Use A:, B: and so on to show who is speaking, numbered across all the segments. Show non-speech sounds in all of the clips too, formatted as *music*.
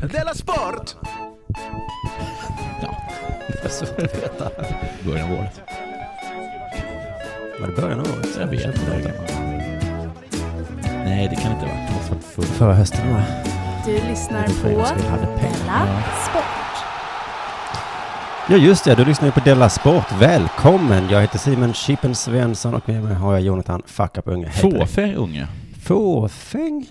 A: Della Sport!
B: Så får du veta.
C: början av året.
B: Var det början av året?
C: Jag vet inte. Nej, det kan inte ha varit. Det måste ha varit förra.
B: Förra hösten va?
D: Du lyssnar
B: Jag tror jag
D: på
B: skulle ha det pengar.
D: Della Sport.
B: Ja just det, du lyssnar ju på Della Sport. Välkommen! Jag heter Simon Chippen Svensson och med mig har jag Jonathan Fuck Up Unge. Heter det.
C: Fåfäng unge.
B: Fåfäng?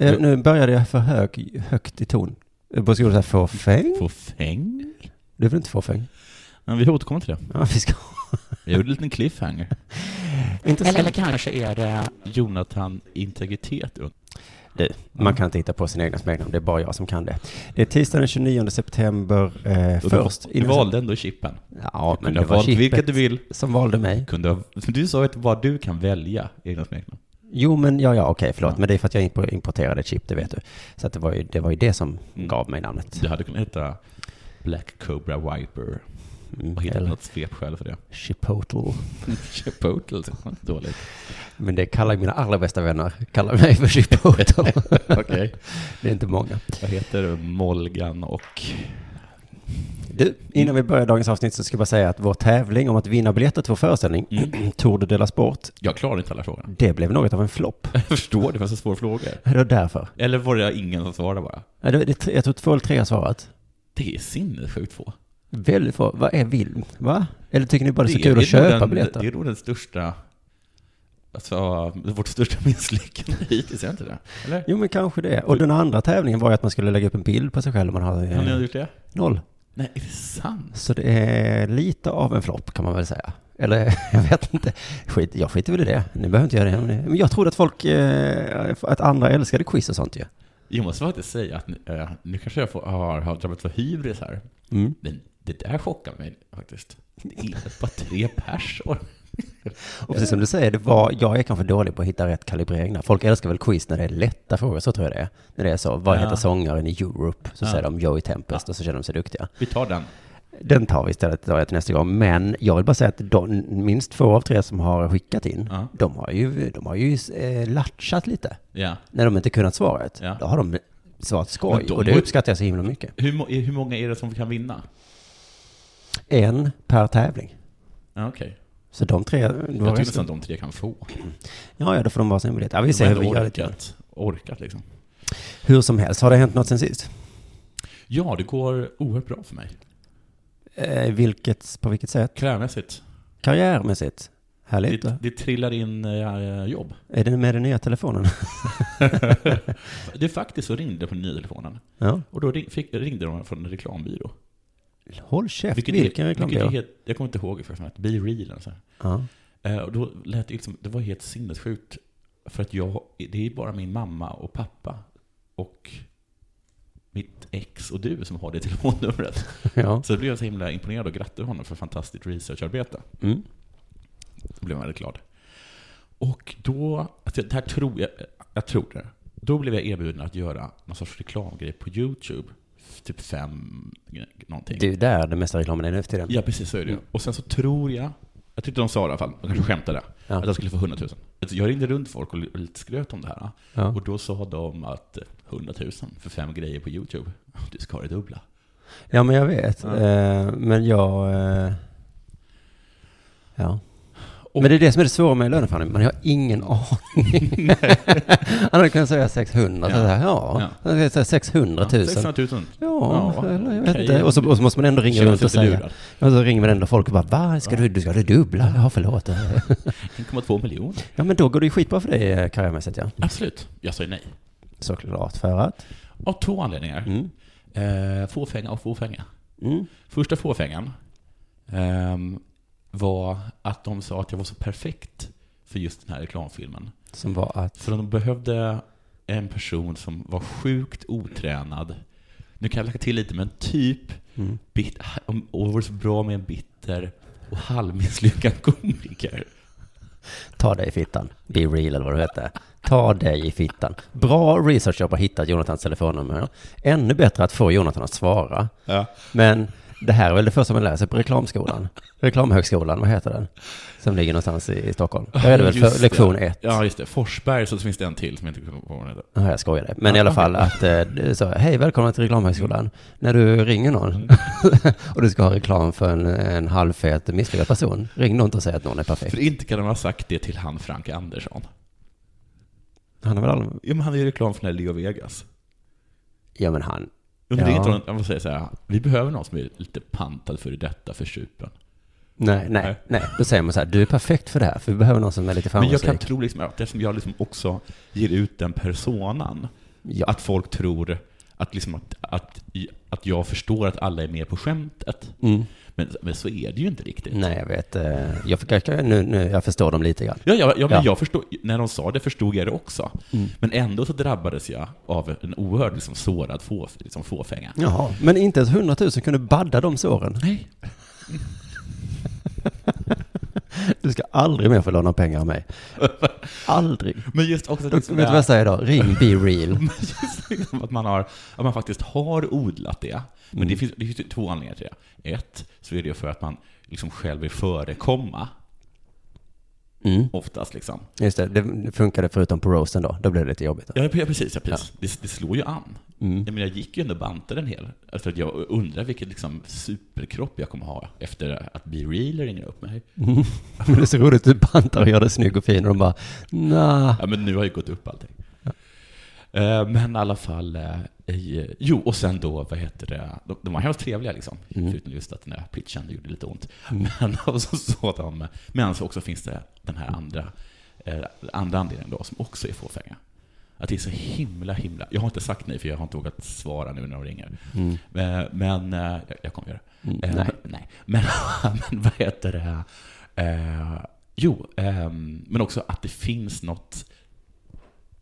B: Eh, nu började jag för hög, högt i ton. Eh, På skolan säger fåfäng?
C: Fåfäng?
B: Det är väl inte fåfäng?
C: Men vi återkommer till det.
B: Ja, vi ska...
C: Jag gjorde en liten cliffhanger.
B: Intressant.
C: kanske är det Jonathan Integritet unge.
B: Du, man kan inte hitta på sina egna smeknamn, det är bara jag som kan det. Det är tisdagen den 29 september eh,
C: Och
B: först.
C: Du, du
B: innan-
C: valde ändå chippen.
B: Ja, men
C: kunde
B: det
C: ha
B: var
C: valt vilket
B: chippet
C: du vill.
B: som valde mig.
C: Kunde ha, för du sa ju att vad du kan välja egna smeknamn.
B: Jo, men ja, ja, okej, förlåt.
C: Ja.
B: Men det är för att jag imp- importerade ett chip, det vet du. Så att det, var ju, det var ju det som
C: Mm.
B: gav mig namnet.
C: Du hade kunnat heta Black Cobra Wiper.
B: Mm,
C: Och hittat
B: eller
C: något svepskäl för det. *laughs*
B: Chipotle.
C: Chipotle, det var inte dåligt.
B: Men det kallar mina allra bästa vänner, kallar mig för Chipotle. *laughs*
C: Okej.
B: det är inte många.
C: Jag heter Molgan och...
B: Du, innan vi börjar dagens avsnitt så ska jag bara säga att vår tävling om att vinna biljetter till vår föreställning, Tour de delas bort,
C: Jag klarar inte alla frågor.
B: det blev något av en flopp.
C: *laughs* Jag förstår, det var så svåra frågor.
B: Det var därför.
C: Eller var det ingen som svarade bara?
B: Ja, det- det- Jag tror två eller tre har svarat.
C: Det är sinnessjukt få.
B: Väldigt få. Vad är Vilm? Va? Eller tycker ni bara det är så kul
C: nog
B: att köpa
C: den,
B: biljetter?
C: Det är nog den största... Alltså, vårt största *laughs* misslyckande hittills, är det inte det? Eller?
B: Jo, men kanske det. Och den andra tävlingen var ju att man skulle lägga upp en bild på sig själv om man hade
C: Har ni
B: eh,
C: gjort det?
B: noll.
C: Nej, är det sant?
B: Så det är lite av en flopp kan man väl säga. Eller *laughs* jag vet inte. Skit, jag skiter väl i det. Ni behöver inte göra det. Men jag trodde att folk, eh, att andra älskade quiz och sånt ju.
C: Jag måste faktiskt säga att ni- eh, nu kanske jag får, har, har drabbats av hybris här.
B: Mm.
C: Men det där chockar mig faktiskt. Det är bara tre pers.
B: Och precis som du säger, det var, jag är kanske dålig på att hitta rätt kalibrering där. Folk älskar väl quiz när det är lätta frågor, så tror jag det är. När det är så, vad
C: Ja.
B: heter sångaren i Europe? Så
C: Ja.
B: säger de Joey Tempest och så känner de sig duktiga.
C: Vi tar den.
B: Den tar vi istället tar jag till nästa gång. Men jag vill bara säga att de, minst två av tre som har skickat in,
C: Ja.
B: de har ju, de har ju eh, latchat lite.
C: Ja.
B: När de inte kunnat svaret,
C: Ja.
B: då har de svarat skoj.
C: Men de
B: och det
C: har ju-
B: uppskattar jag så himla mycket.
C: Hur, må- hur många är det som kan vinna?
B: En per tävling.
C: Ja, Okej.
B: Så de tre... det var
C: Jag tycker
B: resten-
C: nästan de tre kan få.
B: Ja, ja, då får de vara sin biljett. Ja, vi
C: De
B: ser
C: har
B: hur
C: ändå
B: vi gör det.
C: orkat, orkat liksom.
B: Hur som helst, har det hänt något sen sist?
C: Ja, det går oerhört bra för mig.
B: Eh, vilket, på vilket sätt?
C: Karriärmässigt.
B: Karriärmässigt? Härligt.
C: Det,
B: va?
C: det trillar in eh,
B: *laughs*
C: jobb.
B: Är det med den nya telefonen?
C: Det är faktiskt så ringde på den nya telefonen.
B: ja.
C: Och då ring, fick, ringde de från en reklambyrå.
B: Håll käft,
C: är-
B: vilken
C: vilket är
B: reklambyrå?
C: helt- Jag kommer inte ihåg för att Be real eller så här.
B: Ja.
C: Eh, Och då lät det liksom, det var helt sinnessjukt. För att jag, det är bara min mamma och pappa och mitt ex och du som har det telefonnumret.
B: ja.
C: Så då blev jag så himla imponerad och grattade honom för fantastiskt researcharbete.
B: Mm.
C: Då blev jag väldigt glad. Och då, alltså det här tror jag, jag tror det. Då blev jag erbjuden att göra någon sorts reklamgrej på YouTube. Typ fem gre- någonting.
B: Det är ju där den mesta reklamen är nu för tiden.
C: Ja, precis så är det ju. Och sen så tror jag, jag tyckte de sa det i alla fall, de kanske skämtade,
B: Ja.
C: att jag skulle få 100 000. Alltså, Jag ringde runt folk och li- och lite skröt om det här.
B: Ja.
C: Och då sa de att eh, 100 000 för fem grejer på YouTube. *laughs* Du ska ha det dubbla.
B: Ja, men jag vet.
C: Ja.
B: Eh, men jag... Eh, ja.
C: Och-
B: men det är det som är det svåra med löneförhandling. Man har ingen
C: *laughs*
B: aning. *laughs* Han hade kunnat säga 600. Ja. Så
C: Ja.
B: här, ja. Han hade kunnat säga 600 000. Ja,
C: 600 000.
B: eller jag vet
C: okej.
B: inte. Och så, och så måste man ändå ringa
C: Känner
B: runt
C: sig
B: och
C: lite
B: säga.
C: lurad.
B: Och så ringer man ändå folk och bara, va? Ska du, du ska ha det dubbla? Ja, förlåt.
C: 1,2 miljoner.
B: ja, men då går det ju skitbra för dig eh, karriärmässigt, ja.
C: Absolut. Jag sa ju nej.
B: Såklart, för att.
C: Av två anledningar. Eh, fåfänga och fåfänga.
B: Mm.
C: Första fåfängan ehm, var att de sa att jag var så perfekt för just den här reklamfilmen.
B: Som var att...
C: För de behövde en person som var sjukt otränad. Nu kan jag lägga till lite, men typ
B: Mm.
C: bit, och var så bra med en bitter och halvmisslyckad *laughs* komiker.
B: Ta dig i fittan. Be real eller vad det heter. Ta dig i fittan. Bra research att hitta Jonathans telefonnummer. Ännu bättre att få Jonathan att svara. Men Det här är väl det första man lär sig på reklamskolan? Reklamhögskolan, vad heter den? Som ligger någonstans i i Stockholm. Där är det väl
C: Just
B: för lektion ett.
C: Ja, just det. Forsberg, så finns det en till som jag inte kommer på vad den heter.
B: Nej, jag skojade. Men i alla fall att eh, du sa, hej välkomna till reklamhögskolan. När du ringer någon *laughs* och du ska ha reklam för en, en halvfet misslyckad person, ring då inte och säg att någon är perfekt.
C: För inte kan de ha sagt det till han Frank Andersson.
B: Han har väl aldrig...
C: Ja, men han är ju reklam för den här Leo Vegas.
B: Ja, men han...
C: Ja, men det är
B: Ja.
C: inte någon, jag måste säga så här, vi behöver någon som är lite pantad för detta för supen.
B: Nej, nej,
C: Nej.
B: nej. Då säger man så här, du är perfekt för det här, för vi behöver någon som är lite
C: Men jag
B: framgångsrik.
C: kan tro liksom att eftersom jag liksom också ger ut den personan,
B: Ja,
C: att folk tror att, liksom att, att, i- att jag förstår att alla är med på skämtet.
B: mm.
C: Men, men så är det ju inte riktigt.
B: Nej, jag vet. eh, Jag, fick, jag, nu, nu, jag förstår dem lite grann.
C: Ja, ja, ja, men
B: Ja.
C: jag förstod, när de sa det förstod jag det också. Men ändå så drabbades jag av en oerhörd liksom, sårad få, liksom, fåfänga.
B: Jaha, men inte ens 100 000 kunde badda de såren.
C: Nej.
B: Du ska aldrig mer få låna pengar
C: *laughs*
B: av mig. Aldrig.
C: Men just också att,
B: Vet du
C: liksom,
B: vad jag säger då? Ring Be Real.
C: Men just liksom att, man har, att man faktiskt har odlat det. Men det, finns, det finns ju två anledningar till det. Ett, så är det ju för att man liksom själv vill förekomma,
B: Mm.
C: oftast. Liksom.
B: Just det, det funkade förutom på roasten då. Då blev det lite jobbigt. Mm.
C: Ja, pre- precis. Ja, precis. Det, det slår ju an. Jag, menar, jag gick ju ändå och bantade en hel. Alltså, jag undrar vilken liksom, superkropp jag kommer ha efter att Be Real ringer upp mig.
B: Men det är så roligt, du bantar och gör det snygg och fin och de bara, nah.
C: Ja, men nu har ju gått upp allting. Eh, Men i alla fall, eh, i- jo, och sen då, vad heter det, de, de var hemskt trevliga liksom,
B: Mm.
C: förutom just att den där pitchen gjorde lite ont. *laughs* Men och så sa de, men så också finns det den här andra, eh, andra anledningen då, som också är fåfänga. Att det är så himla, himla, jag har inte sagt nej för jag har inte vågat svara nu när de ringer. Eh, Men, eh, jag- jag kommer göra det.
B: Mm,
C: Eh,
B: nej.
C: *laughs* nej. Men, men vad heter det, eh, jo, ehm, men också att det finns något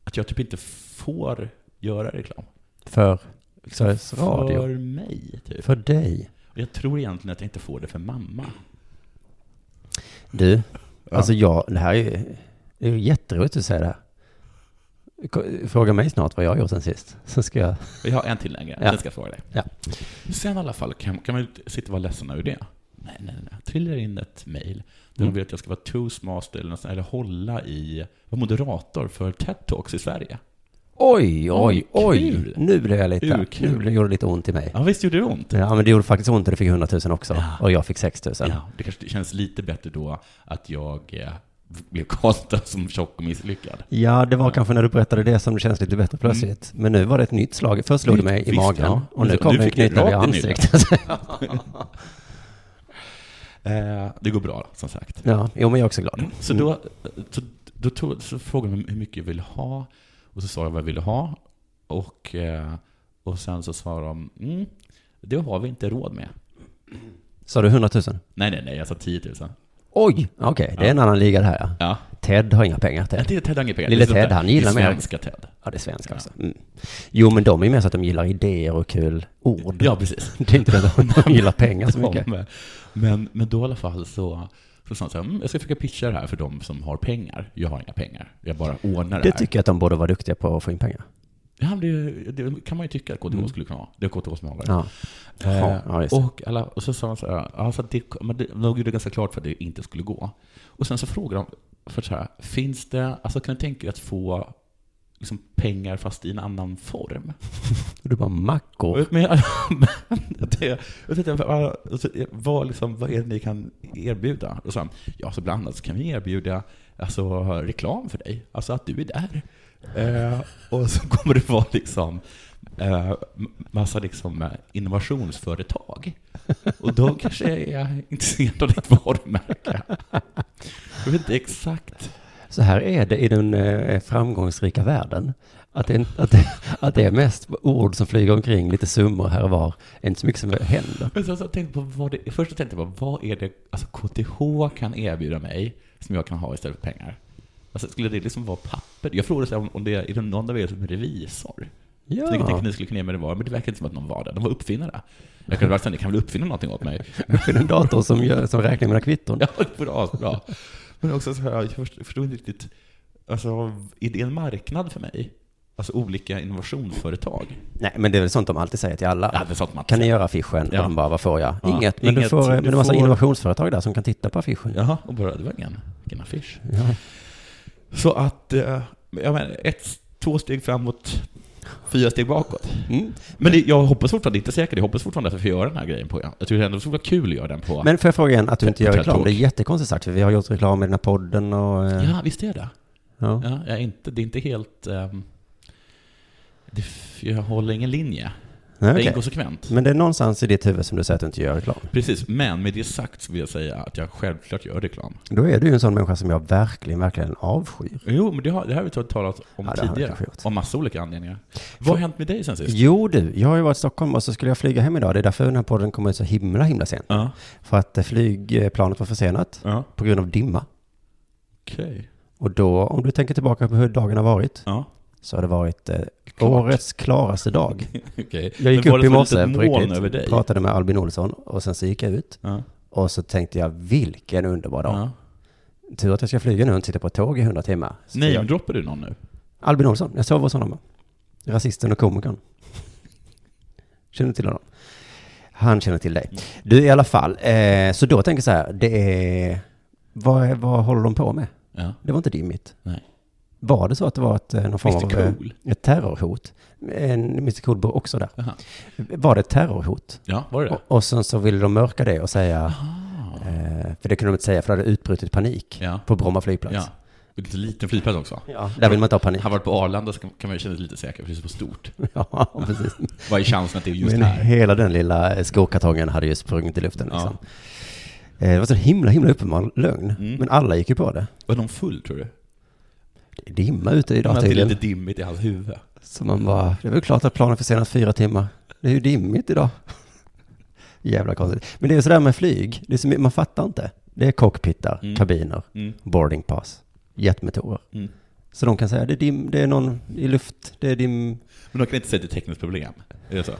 C: att jag typ inte får göra reklam.
B: För Sveriges
C: För
B: Radio.
C: mig, typ.
B: För dig.
C: Och jag tror egentligen att jag inte får det för mamma.
B: Du, alltså jag, det här är ju, det är ju jätteroligt att säga det här. Ko- Fråga mig snart vad jag har gjort sen sist. Så ska jag,
C: Jag har en till längre,
B: Ja.
C: den ska jag fråga dig.
B: Ja.
C: Sen i alla fall, kan, kan man ju inte sitta och vara ledsen över det? Nej, nej, nej. Jag trillar in ett mejl där
B: Mm.
C: de vill att jag ska vara toastmaster eller, något sånt, eller hålla i, vara moderator för TED-talks i Sverige.
B: oj, oj, oj.
C: kul.
B: Nu blev jag lite,
C: Urkul.
B: nu blev- gjorde det lite ont i mig.
C: Ja, visst gjorde det ont?
B: Ja, men det gjorde faktiskt ont och det fick 100 000 också.
C: Ja.
B: Och jag fick 6 000.
C: Ja, det kanske känns lite bättre då att jag eh, blev kastad som tjock och misslyckad.
B: Ja, det var kanske när du berättade det som det känns lite bättre plötsligt. Men nu var det ett Mm. nytt slag. Först slog det mig i
C: Visst,
B: magen
C: ja.
B: och nu
C: Nu
B: kom det en
C: fick jag
B: knytnäve i
C: rakt i nyllet.
B: ansiktet.
C: Eh, det går bra, som sagt.
B: *laughs* ja, jo, men jag är också glad.
C: Så då, så, då tog, så frågade de hur mycket jag ville ha. Och så sa jag vad jag ville ha. Och, eh, och sen så sa de, mm, det har vi inte råd med.
B: Sa du 100 000?
C: Nej, nej, nej, jag sa 10 000.
B: Oj! Okej, det är en annan liga det här ja.
C: Ja.
B: Ted har inga pengar,
C: Nej,
B: Ted.
C: det är Ted Angepengar.
B: Lille Ted, han gillar
C: mer.
B: mer-
C: Svenska Ted.
B: Ja, det är svenska också. Mm. Jo, men de är ju mer så att de gillar idéer och kul ord.
C: Ja, precis.
B: Det är inte det att de gillar pengar så
C: *laughs* Ja,
B: mycket.
C: men- Men, men då i alla fall så, så sa han så här, "Mm, jag ska försöka pitcha det här för de som har pengar. Jag har inga pengar. Jag bara ordnar det,
B: Det
C: här.
B: tycker jag att de borde vara duktiga på att få in pengar.
C: Ja, men det, det kan man ju tycka att KTH skulle kunna ha. Det är KTH som har det.
B: Mm. Ja.
C: Eh,
B: Ja, just det.
C: och, alla, och så sa han så här, alltså det, men det, de gjorde det ganska klart för att det inte skulle gå. Och sen så frågade de, för så här, finns det, alltså kan du tänka dig att få liksom pengar fast i en annan form?
B: Och du bara mackor.
C: Men, jag- men *laughs* det, jag tänkte, vad, alltså, vad, liksom, vad är det ni kan erbjuda? Och så, han, ja, så bland annat så kan vi erbjuda alltså, reklam för dig, alltså att du är där. Eh, och så kommer det vara liksom eh, massa liksom, eh, innovationsföretag. Och de kanske är intresserade av ditt varumärke. Jag vet inte exakt.
B: Så här är det i den eh, framgångsrika världen. Att det, är- att, det, att det är mest ord som flyger omkring, lite summor här och var. Inte så mycket som händer.
C: Men sen så tänkte jag på vad det, först så tänkte jag på vad är det alltså KTH kan erbjuda mig som jag kan ha istället för pengar? Alltså, skulle det liksom vara papper? Jag frågade så här om, om det är det någon av er som är revisor. Så jag tänkte att
B: Ja,
C: ni skulle kunna ge mig det var, men det verkar inte som att någon var det. De var uppfinnare. Jag kunde verkligen, ni kan väl uppfinna någonting åt mig? *laughs*
B: för en dator som, gör, som räknar mina kvitton.
C: Ja, det vore asbra. Men också så här, jag först- förstod inte riktigt, alltså, är det en marknad för mig? Alltså olika innovationsföretag.
B: Nej, men det är väl sånt de alltid säger till alla.
C: Ja, det är sånt man
B: kan ni göra affischen?
C: Ja.
B: Och de bara, vad får jag?
C: Ja,
B: Inget, men du
C: inget.
B: får, men det är
C: Du
B: en massa
C: får-
B: innovationsföretag där som kan titta på affischen.
C: Jaha, och bara, det var ingen, vilken affisch.
B: Ja.
C: Så att, eh, jag menar, ett, två steg framåt, fyra steg bakåt.
B: Mm.
C: Men det, jag hoppas fortfarande, inte säkert, jag hoppas fortfarande att jag får göra den här grejen på Jag tycker ändå det skulle vara kul att göra den på...
B: Men får jag fråga igen, att du inte
C: På
B: gör
C: TED
B: reklam?
C: Talk.
B: Det är jättekonstigt sagt, för vi har gjort reklam i den här podden och... eh,
C: ja, visst är det.
B: ja.
C: Ja, jag är inte, det är inte helt... ehm, det, f- jag håller ingen linje.
B: Nej,
C: Det är
B: okej.
C: inkonsekvent.
B: Men det är någonstans i ditt huvud som du säger att du inte gör reklam.
C: Precis, men med det sagt så vill jag säga att jag självklart gör reklam.
B: Då är du ju en sån människa som jag verkligen, verkligen avskyr.
C: Jo, men det har, det här har vi talat om
B: Ja, det har vi
C: tidigare.
B: kanske gjort.
C: Av massa olika anledningar. Vad har hänt med dig sen sist?
B: Jo du, jag har ju varit i Stockholm och så skulle jag flyga hem idag. Det är därför den här podden kommer ut så himla, himla sent.
C: Ja.
B: För att eh, flygplanet var försenat
C: Ja.
B: på grund av dimma.
C: Okej.
B: Och då, om du tänker tillbaka på hur dagen har varit,
C: Ja.
B: så har det varit eh,
C: Klart.
B: årets klaraste dag.
C: Okej.
B: Jag gick
C: Men var
B: upp
C: det
B: i
C: som ett
B: morse
C: litet
B: på
C: moln
B: riktigt,
C: över dig?
B: pratade med Albin Olsson och sen så gick jag ut.
C: Ja.
B: Och så tänkte jag, vilken underbar dag.
C: Ja.
B: Tur att jag ska flyga nu och inte sitta på ett tåg i 100 timmar. Så
C: Nej, men
B: jag,
C: droppar du någon nu?
B: Albin Olsson, jag sov hos honom. Rasisten och komikern. Känner du till honom? Han känner till
C: Mm.
B: dig. Du i alla fall, eh, så då tänker jag så här, det är... Vad, är, vad håller de på med?
C: Ja.
B: Det var inte dimmigt.
C: Nej.
B: Var det så att det var ett, eh, någon form
C: Mr.
B: av eh,
C: Cool.
B: ett terrorhot? En, Mr Cool bor också där.
C: Jaha.
B: Var det ett terrorhot?
C: Ja, var det det?
B: Och, och sen så ville de mörka det och säga,
C: Ah.
B: eh, för det kunde de inte säga för det hade utbrutit panik
C: Ja.
B: på Bromma flygplats.
C: Ja. Lite liten flygplats också.
B: Ja, där vill man inte ha panik.
C: Har varit på Arlanda så kan kan man ju känna sig lite säker, precis på stort.
B: *laughs* Ja, precis.
C: Vad är chansen att det är *laughs* just
B: Men
C: här?
B: hela den lilla skokartongen hade ju sprungit i luften
C: Ja.
B: liksom. Eh, Det var så himla, himla uppenbar lögn.
C: Mm.
B: Men alla gick ju på det.
C: Var någon full, tror du?
B: Det är dimma ute
C: Men
B: idag
C: att det är
B: tydligen.
C: lite dimmigt i hans huvud.
B: Så man bara, det är väl klart att planen försenas fyra timmar. Det är ju dimmigt idag. *laughs* Jävla konstigt. Men det är sådär med flyg, det är så, mycket- man fattar inte. Det är cockpittar,
C: Mm.
B: kabiner,
C: Mm.
B: boarding pass, jetmotorer.
C: Mm.
B: Så de kan säga, det är dim, det är någon i luft, det är dim...
C: Men de kan inte säga att det är ett tekniskt problem. Är det så?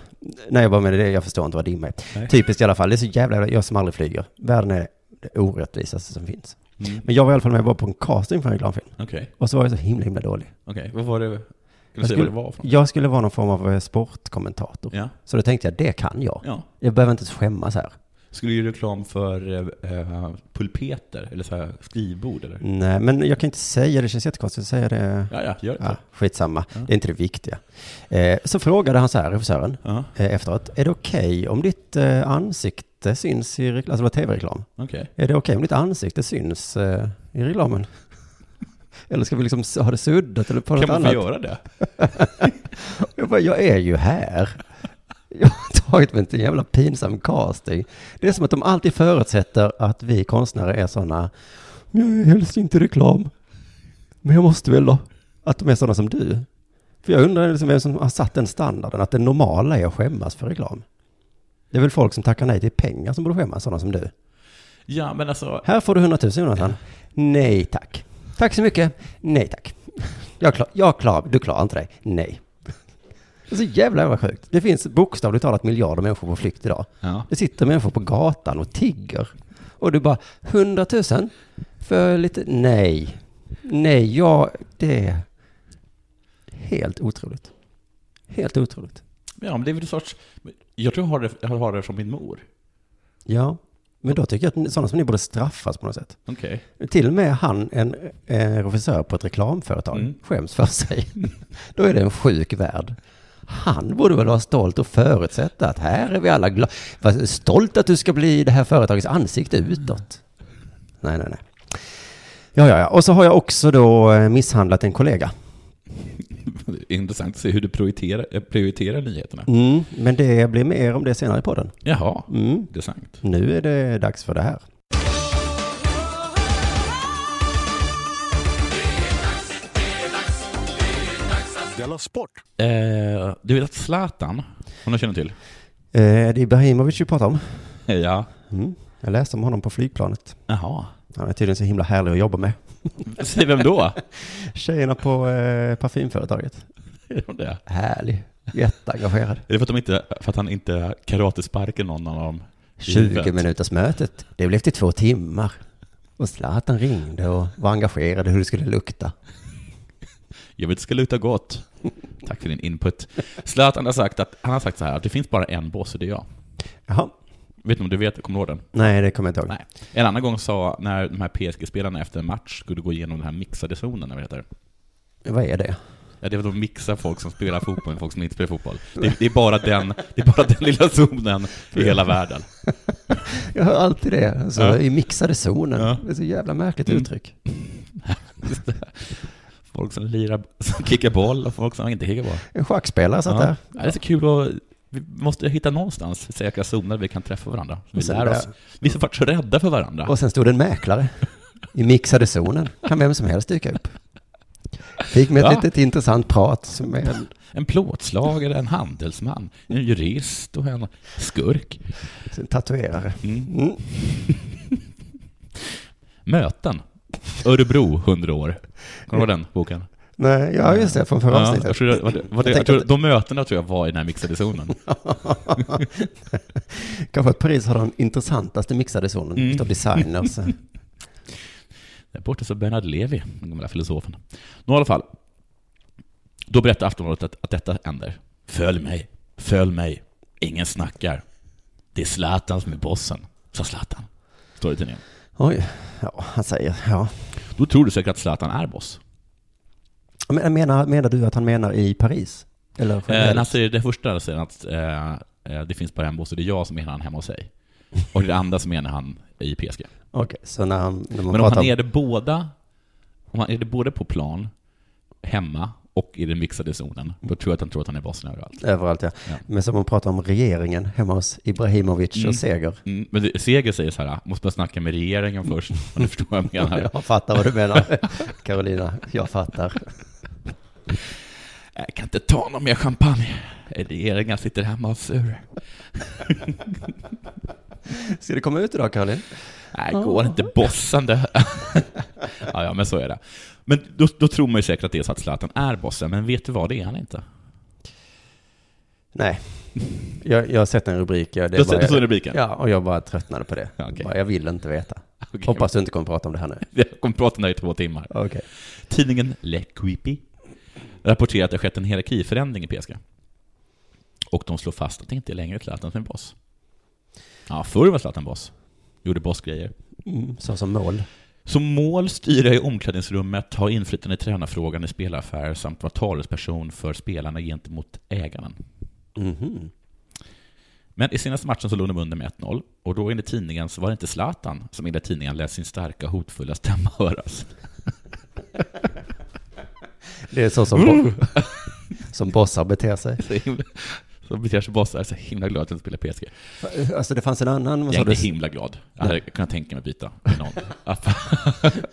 B: Nej, jag bara menar det, jag förstår inte vad dimma är.
C: Nej.
B: Typiskt i alla fall, det är så jävla, jävla- jag som aldrig flyger. Världen är det orättvisaste som finns.
C: Mm.
B: Men jag var i alla fall med bara på en casting för en reklamfilm.
C: Okej, okej.
B: Och så var jag så himla, himla dålig.
C: Vad var det? Kan du
B: Jag
C: säga vad
B: skulle,
C: det var för något?
B: jag skulle vara någon form av eh, sportkommentator.
C: Ja.
B: Så då tänkte jag, det kan jag.
C: ja.
B: Jag behöver inte skämmas här.
C: Skulle du göra reklam för eh, eh, pulpeter, eller så här skrivbord, eller?
B: Nej, men jag kan inte säga det. känns jättekonstigt att säga det.
C: Ja, ja, gör det.
B: Ja,
C: Ja.
B: skitsamma,
C: Ja.
B: det är inte det viktiga. Eh, så frågade han så här, regissören,
C: Ja,
B: eh, efteråt. Är det okej om ditt eh, ansikte syns i reklam? Alltså det var tv-reklam.
C: okej.
B: Är det okej om ditt ansikte syns eh, i reklamen? *laughs* eller ska vi liksom s- ha det suddat eller på något
C: Kan man få
B: annat?
C: göra det?
B: *laughs* Jag, bara, jag är ju här. Jag har *laughs* tagit mig till en jävla pinsam casting. Det är som att de alltid förutsätter att vi konstnärer är sådana, "Men jag är helst inte i reklam, men jag måste väl då. Att de är sådana som du. För jag undrar liksom vem som har satt den standarden, att det normala är att skämmas för reklam. Det är väl folk som tackar nej till pengar som borde skämmas, sådana som du.
C: Ja, men alltså,
B: Här får du 100 000 Jonathan. Nej tack. Tack så mycket. Nej tack. Jag klar, jag klar, du klarar inte dig. Nej. Det är så jävla, jävla sjukt. Det finns bokstavligt talat miljarder människor på flykt idag.
C: ja.
B: Det sitter människor på gatan och tigger. Och du bara, 100 000 för lite, nej. Nej, jag, det är helt otroligt. Helt otroligt.
C: ja, men det är väl en sorts... Jag tror jag har det, jag har det från min mor.
B: Ja, men då tycker jag att ni- sådana som ni borde straffas på något sätt.
C: Okej.
B: Till och med han, en, en regissör på ett reklamföretag,
C: Mm.
B: skäms för sig. *laughs* Då är det en sjuk värld. Han borde väl vara stolt och förutsätta att här är vi alla glada. Stolt att du ska bli det här företagets ansikte utåt. Nej, nej, nej. Ja, ja, ja. Och så har jag också då eh, misshandlat en kollega.
C: Det är Intressant att se hur du prioriterar, eh, prioriterar nyheterna.
B: Mm, men det blir mer om det senare i podden.
C: Jaha,
B: Mm.
C: intressant.
B: Nu är det dags för det här.
A: Della Sport!
C: Eh, du vet att Zlatan, hon har känner till?
B: Eh, det är Ibrahimovic vi pratar om.
C: Ja.
B: Mm. Jag läste om honom på flygplanet.
C: Jaha.
B: Han är tydligen så himla härlig att jobba med.
C: Säg vem *laughs* då?
B: Tjejerna på eh, parfymföretaget.
C: Är de det?
B: Härlig. Jätteengagerad.
C: Är det för att, de inte, för att han inte karatesparkar någon av dem? i
B: 20
C: huvudet?
B: minuters mötet. Det blev till två timmar. Och Zlatan ringde och var engagerad i hur det skulle lukta.
C: Jag vet det ska luta gott. Tack för din input. Zlatan har sagt, att, han har sagt så här, att det finns bara en boss och det är jag.
B: Jaha.
C: Vet ni om du vet, kommer du ihåg den?
B: Nej, det kommer jag inte ihåg.
C: Nej. En annan gång sa, när de här PSG-spelarna efter en match skulle gå igenom den här mixade zonen, eller vad det heter.
B: Vad är det?
C: Ja, det är väl de mixar folk som spelar fotboll med folk som inte spelar fotboll. Det, det, är, bara den, det är bara den lilla zonen i hela världen.
B: Jag hör alltid det. Alltså,
C: Ja.
B: I mixade zonen.
C: Ja.
B: Det är så jävla märkligt
C: Mm.
B: uttryck.
C: Folk som lirar, som kickar boll och folk som inte kickar boll.
B: En schackspelare satt där.
C: Ja, det är så kul att... Vi måste hitta någonstans säkra zoner vi kan träffa varandra. Vi
B: Och sen
C: lär
B: där-
C: oss. Vi är så faktiskt rädda för varandra.
B: Och sen stod det en mäklare. I mixade zonen kan vem som helst dyka upp. Fick med ett
C: Ja.
B: litet intressant prat med en
C: En plåtslagare, en handelsman, en jurist och en skurk.
B: en tatuerare.
C: Mm.
B: Mm.
C: Möten. Örebro, 100 år. Kommer du ihåg den boken?
B: Nej, ja just det, från förra
C: Ja, jag
B: avsnittet.
C: tror, det- var det, var det,
B: Jag
C: jag
B: tänkte
C: tror,
B: att-
C: de mötena tror jag var i den här mixade zonen.
B: *laughs* Kanske att Paris har den intressantaste mixade zonen
C: Mm.
B: utav alltså. designers.
C: Där borta så Bernard Levi, den gamla filosofen. Nå, i alla fall. Då berättar Aftonbladet att, att detta händer. Följ mig, följ mig. Ingen snackar. Det är Zlatan som är bossen, sa Zlatan. Står det i tidningen.
B: Oj, ja, han säger, ja.
C: Då tror du säkert att Zlatan är boss.
B: Men, menar, menar du att han menar i Paris? Eller
C: Eh, när han
B: generellt?
C: säger det första säger han att eh, eh, det finns bara en boss och det är jag som menar han hemma hos sig. Och det andra som menar han i PSG.
B: Okej, så när han, när man
C: Men om
B: pratar
C: han är det båda, om han är det både på plan, hemma och i den mixade zonen, då tror jag att han tror att han är bossen överallt.
B: överallt ja.
C: Ja.
B: Men som man pratar om regeringen hemma hos Ibrahimovic
C: Mm.
B: och Seger.
C: Mm, men det- Seger säger så här, "Ah, måste man snacka med regeringen
B: Mm.
C: först, om du förstår vad jag
B: *laughs*
C: menar.
B: Jag fattar vad du menar, *laughs* Carolina. Jag fattar.
C: Jag "Äh, kan inte ta någon mer champagne. Regeringen sitter hemma och sur.
B: Ska det komma ut idag, Caroline?
C: Nej, går inte bossen det. *laughs* ja, ja, men så är det. Men då, då tror man ju säkert att det är så att Zlatan är bossen, men vet du vad, det är han inte.
B: Nej. Jag, jag har sett en rubrik. Jag,
C: Du har sett- du såg rubriken?
B: Ja, och jag bara tröttnade på det.
C: Ja, okej.
B: Bara, jag vill inte veta.
C: *laughs* Okej.
B: Hoppas du inte kommer prata om det här nu.
C: Jag kommer prata om det här i två timmar.
B: Okej.
C: Tidningen Le Quipi rapporterar att det har skett en hierarkiförändring i PSG. Och de slår fast att det inte är längre Zlatan som är boss. Ja, förr var Zlatan boss. Gjorde bossgrejer.
B: Mm, så som mål.
C: Som mål styra i omklädningsrummet, ha inflytande i tränarfrågan i spelaffärer samt vara talesperson för spelarna gentemot ägaren.
B: Mhm.
C: Men i senaste matchen så låg de under med 1-0 och då enligt tidningen så var det inte Zlatan som enligt tidningen lät sin starka hotfulla stämma höras. *laughs*
B: Det är så som,
C: Mm.
B: bo- *laughs* som bossar beter sig.
C: Så himla, så beter sig bossar så himla glad att jag inte spelar PSG.
B: Alltså det fanns en annan,
C: Jag
B: vad sa
C: är
B: du?
C: inte himla glad. Jag hade kunnat tänka mig att byta med
B: *laughs*
C: någon.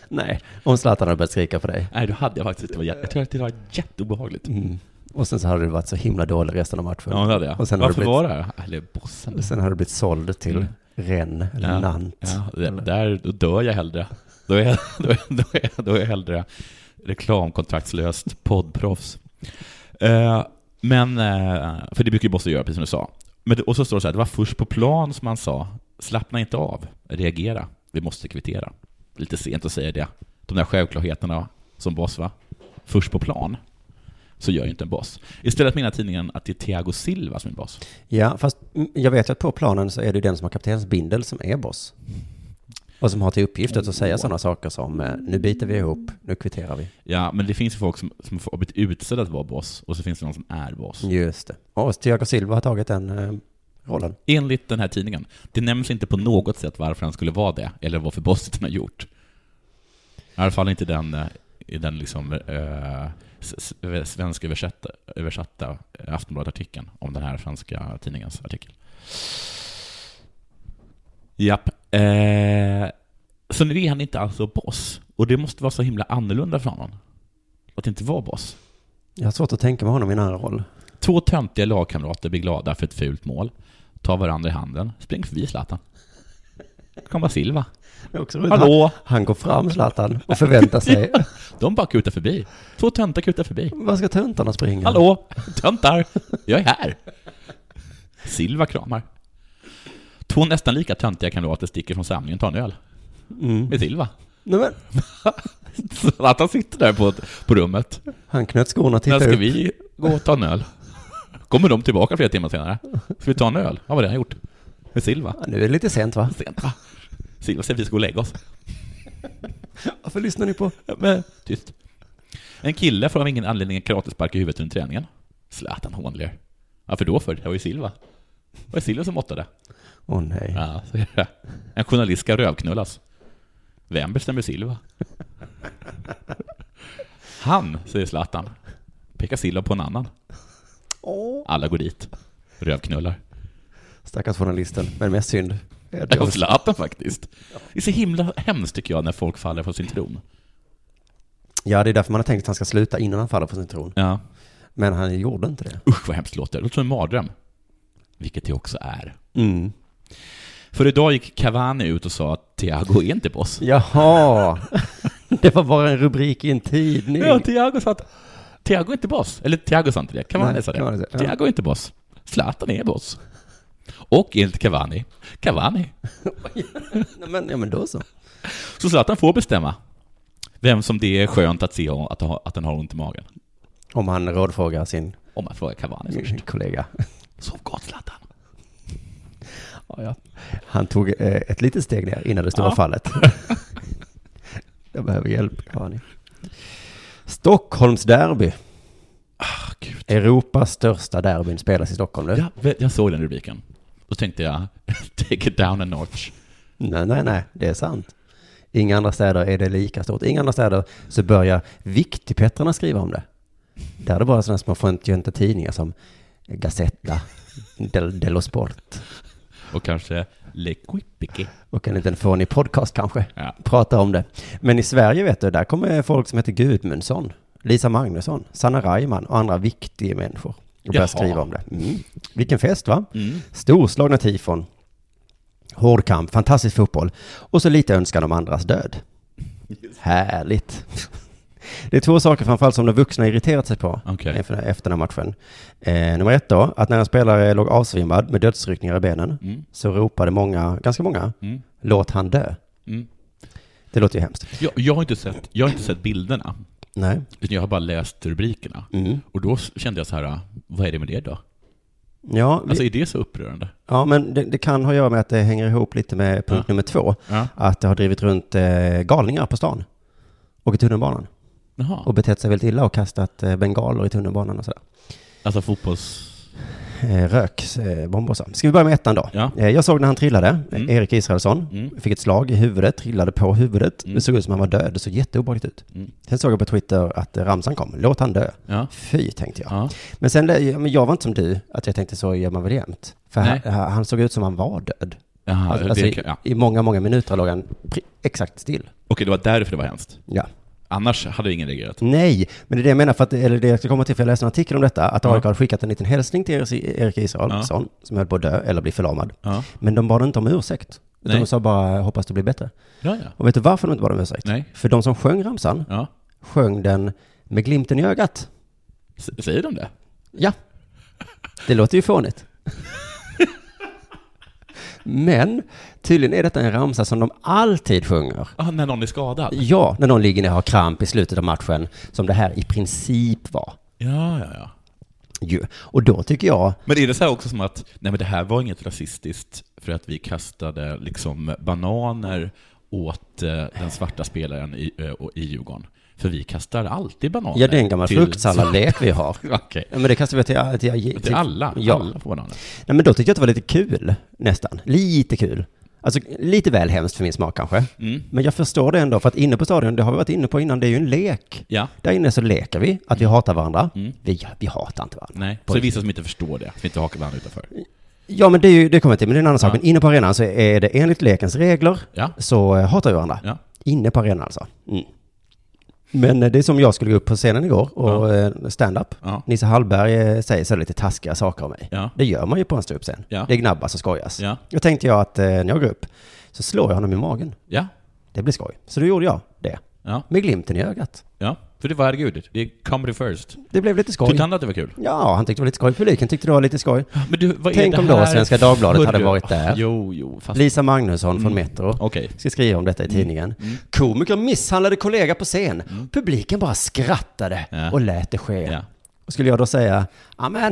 B: Nej, om Zlatan hade börjat skrika på dig.
C: Nej, då hade jag faktiskt inte varit... Jag tror att det var jätteobehagligt.
B: Mm. Och sen så hade du varit så himla dålig resten av matchen.
C: Ja, det hade jag.
B: Och sen har
C: Varför
B: du blivit-
C: var det här? Eller bossen.
B: Sen hade du blivit såld till
C: Mm.
B: Rennes eller
C: Ja,
B: Nantes.
C: Ja, det- där, då dör jag hellre. Då är jag, då är, då är, då är jag hellre reklamkontraktslöst poddproffs. Eh, men, eh, för det brukar ju Bosse göra, precis som du sa. Men, det- och så står det så här, det var först på plan som han sa, slappna inte av, reagera, vi måste kvittera. Lite sent att säga det. De där självklarheterna som boss, va? Först på plan, så gör ju inte en boss. Istället menar tidningen att det är Thiago Silva som är boss.
B: Ja, fast mm, jag vet ju att på planen så är det ju den som har kaptenens bindel som är boss. Och som har till uppgift att säga sådana saker som eh, nu biter vi ihop, nu kvitterar vi.
C: Ja, men det finns ju folk som, som har blivit utsedda att vara boss och så finns det någon som är boss.
B: Just det. Och Thiago Silva har tagit den eh, rollen.
C: Enligt den här tidningen. Det nämns inte på något sätt varför han skulle vara det eller vad för bosset han har gjort. I alla fall inte den, eh, i den liksom, eh, s- s- svenska översatta, översatta Aftonbladet-artikeln om den här franska tidningens artikel. Japp. Eh, så nu är han inte alltså boss. Och det måste vara så himla annorlunda för honom. Att inte vara boss.
B: Jag har svårt att tänka mig honom i en annan roll.
C: Två töntiga lagkamrater blir glada för ett fult mål. Tar varandra i handen. Spring förbi Zlatan. Komma Silva.
B: Det är också roligt.
C: Hallå!
B: Han, han går fram, Zlatan, och förväntar *laughs* sig.
C: De bara kutar förbi. Två töntar kutar förbi.
B: Vad ska töntarna springa?
C: Hallå! Töntar! Jag är här! Silva kramar. Två nästan lika töntiga kamrater sticker från samlingen och tar en öl.
B: Mm.
C: Med Silva.
B: Nej men,
C: Så att han sitter där på, på rummet.
B: Han knöt skorna och
C: När
B: tittade
C: ska
B: upp.
C: vi gå och ta en öl? Kommer de tillbaka flera timmar senare? Ska vi ta en öl? Ja, vad det har jag gjort. Med Silva.
B: Ja, nu är det lite sent va?
C: Sent, va? Silva säger att vi ska gå och lägga oss.
B: Varför lyssnar ni på?
C: Men, tyst. En kille får av ingen anledning en karatespark i huvudet under träningen. Zlatan hånler. Varför då för? Det var ju Silva. Det var ju Silva som måttade.
B: Åh nej.
C: Ja, så är det. En journalist ska rövknullas. Vem bestämmer Silva? Han, säger Zlatan. Pekar Silva på en annan.
B: Åh.
C: Alla går dit. Rövknullar.
B: Stackars journalisten, men mest synd.
C: Ja, och Zlatan faktiskt. Det är så himla hemskt tycker jag när folk faller från sin tron.
B: Ja, det är därför man har tänkt att han ska sluta innan han faller på sin tron.
C: Ja.
B: Men han gjorde inte det.
C: Usch vad hemskt det låter. Det låter som en mardröm. Vilket det också är.
B: Mm.
C: För idag gick Cavani ut och sa att Thiago är inte boss.
B: *laughs* Jaha! Det var bara en rubrik i en tidning.
C: Ja, Thiago sa att Thiago är inte boss. Eller Thiago sa inte det. Cavani
B: Nej,
C: sa det.
B: Cavani sa det. Ja.
C: Thiago är inte boss. Zlatan är boss. Och enligt Cavani, Cavani.
B: Nej, men, ja, men då så.
C: Så Zlatan får bestämma vem som det är skönt att se att, ha, att den har ont i magen.
B: Om han rådfrågar sin
C: Om man frågar Cavani
B: Mm.
C: först.
B: kollega.
C: Sov gott Zlatan.
B: Ja, ja. Han tog eh, ett litet steg ner innan det stora
C: Ja.
B: *laughs* fallet. Jag behöver hjälp, Kani. Stockholms derby.
C: Ah, Gud.
B: Europas största derbyn spelas i Stockholm nu.
C: Jag, vet- jag såg den rubriken. Då tänkte jag, *laughs* take it down a notch.
B: Nej, nej, nej, det är sant. Inga andra städer är det lika stort. Inga andra städer så börjar viktigpettrarna skriva om det. Där är det bara sådana små föntiönta tidningar som Gazzetta, Del- Dello Sport
C: Och kanske Le Quippique.
B: och en liten fånig podcast kanske.
C: Ja.
B: Prata om det. Men i Sverige vet du, där kommer folk som heter Gudmundsson, Lisa Magnusson, Sanna Reimann och andra viktiga människor. Och börjar
C: Jaha.
B: skriva om det. Mm. Vilken fest va?
C: Mm.
B: Storslagna tifon. Hård kamp, fantastisk fotboll och så lite önskan om andras död. Härligt. Det är två saker framförallt som de vuxna irriterat sig på
C: Okej.
B: efter, efter den här matchen. Eh, nummer ett då, att när en spelare låg avsvimmad med dödsryckningar i benen
C: Mm.
B: så ropade många, ganska många,
C: Mm.
B: låt han dö.
C: Mm.
B: Det låter ju hemskt.
C: Jag, jag, har inte sett, jag har inte sett bilderna,
B: Nej.
C: utan jag har bara läst rubrikerna.
B: Mm.
C: Och då kände jag så här, vad är det med det då?
B: Ja, vi,
C: Alltså är det så upprörande?
B: ja, men det, det kan ha att göra med att det hänger ihop lite med punkt nummer två.
C: Ja.
B: Att det har drivit runt eh, galningar på stan och i tunnelbanan. och
C: Jaha.
B: betett sig väldigt illa och kastat eh, bengaler i tunnelbanan och sådär.
C: Alltså fotbolls...
B: Eh, Röksbomber och så. Ska vi börja med ettan då?
C: Ja.
B: Eh, Jag såg när han trillade, eh,
C: Mm.
B: Erik Israelsson.
C: Mm.
B: Fick ett slag i huvudet, trillade på huvudet.
C: Mm.
B: Det såg ut som han var död, det såg jätteobehagligt ut.
C: Mm.
B: Sen såg jag på Twitter att eh, ramsan kom, låt han dö.
C: Ja.
B: Fy, tänkte jag.
C: ja.
B: Men sen, lä- ja, men jag var inte som du, att jag tänkte så gör man väl jämt. För
C: Nej.
B: han, han såg ut som han var död.
C: Jaha,
B: alltså,
C: det,
B: alltså,
C: kan- ja.
B: i, I många, många minuter låg han pri- exakt still.
C: Okej, det var därför det var hemskt.
B: Ja.
C: Annars hade ingen reagerat.
B: Nej, men det är det jag menar, för att, eller det jag ska komma till, för jag läste en artikel om detta, att
C: Ja.
B: AIK hade skickat en liten hälsning till Erik- Erik Israelsson, som höll på att dö eller bli förlamad.
C: Ja.
B: Men de bad inte om ursäkt, utan
C: Nej.
B: de sa bara hoppas det blir bättre.
C: Ja, ja.
B: Och vet du varför de inte bad om ursäkt?
C: Nej.
B: För de som sjöng ramsan
C: ja.
B: sjöng den med glimten i ögat.
C: S- Säger de det?
B: Ja, det låter ju fånigt. Men tydligen är detta en ramsa som de alltid sjunger.
C: Ah, när någon är skadad?
B: Ja, när någon ligger ner och har kramp i slutet av matchen, som det här i princip var.
C: Ja, ja, ja.
B: ju. Och då tycker jag,
C: Men är det så här också som att, nej men det här var inget rasistiskt för att vi kastade liksom bananer åt eh, den svarta spelaren i, eh, och- i Djurgården? För vi kastar alltid bananer.
B: ja det är en gammal fruktsalladlek vi har.
C: Okej.
B: Ja, men det kastar vi till, till, till,
C: Till alla?
B: Ja.
C: Alla får bananer?
B: Nej, men då tyckte jag att det var lite kul, nästan. Lite kul. Alltså lite väl hemskt för min smak kanske.
C: Mm.
B: Men jag förstår det ändå, för att inne på stadion, det har vi varit inne på innan, det är ju en lek.
C: Ja.
B: Där inne så leker vi att vi hatar varandra.
C: Mm.
B: Vi, vi hatar inte varandra.
C: Nej. Så
B: På
C: det är vissa som inte förstår det, som inte hakar varandra utanför.
B: Ja, men det, är ju, det kommer jag till, men det är en annan sak.
C: Ja.
B: Men inne på arenan så är det enligt lekens regler,
C: Ja.
B: så eh, hatar vi varandra.
C: Ja.
B: Inne på arenan alltså. Mm. Men eh, det är som jag skulle gå upp på scenen igår och ja. stand-up.
C: Ja.
B: Nisse Hallberg eh, säger så lite taskiga saker om mig.
C: Ja.
B: Det gör man ju på en ståuppscen.
C: Ja.
B: Det gnabbas och skojas.
C: Ja.
B: Då tänkte jag att eh, när jag går upp så slår jag honom i magen.
C: Ja.
B: Det blir skoj. Så då gjorde jag det.
C: Ja.
B: Med glimten i ögat.
C: Ja. För det var, herregud, det är comedy first.
B: Det blev lite skoj.
C: Tyckte han att det var kul?
B: Ja, han tyckte det var lite skoj. Publiken tyckte det var lite skoj.
C: Men du, vad
B: Tänk
C: är det
B: om då
C: här
B: Svenska Dagbladet
C: för-
B: hade varit där.
C: Jo, jo, fast...
B: Lisa Magnusson
C: Mm.
B: från Metro
C: Okej.
B: ska skriva om
C: Mm.
B: detta i tidningen. Komiker misshandlade kollega på scen. Publiken bara skrattade
C: Ja.
B: och lät det ske.
C: Ja.
B: Och skulle jag då säga, ja men,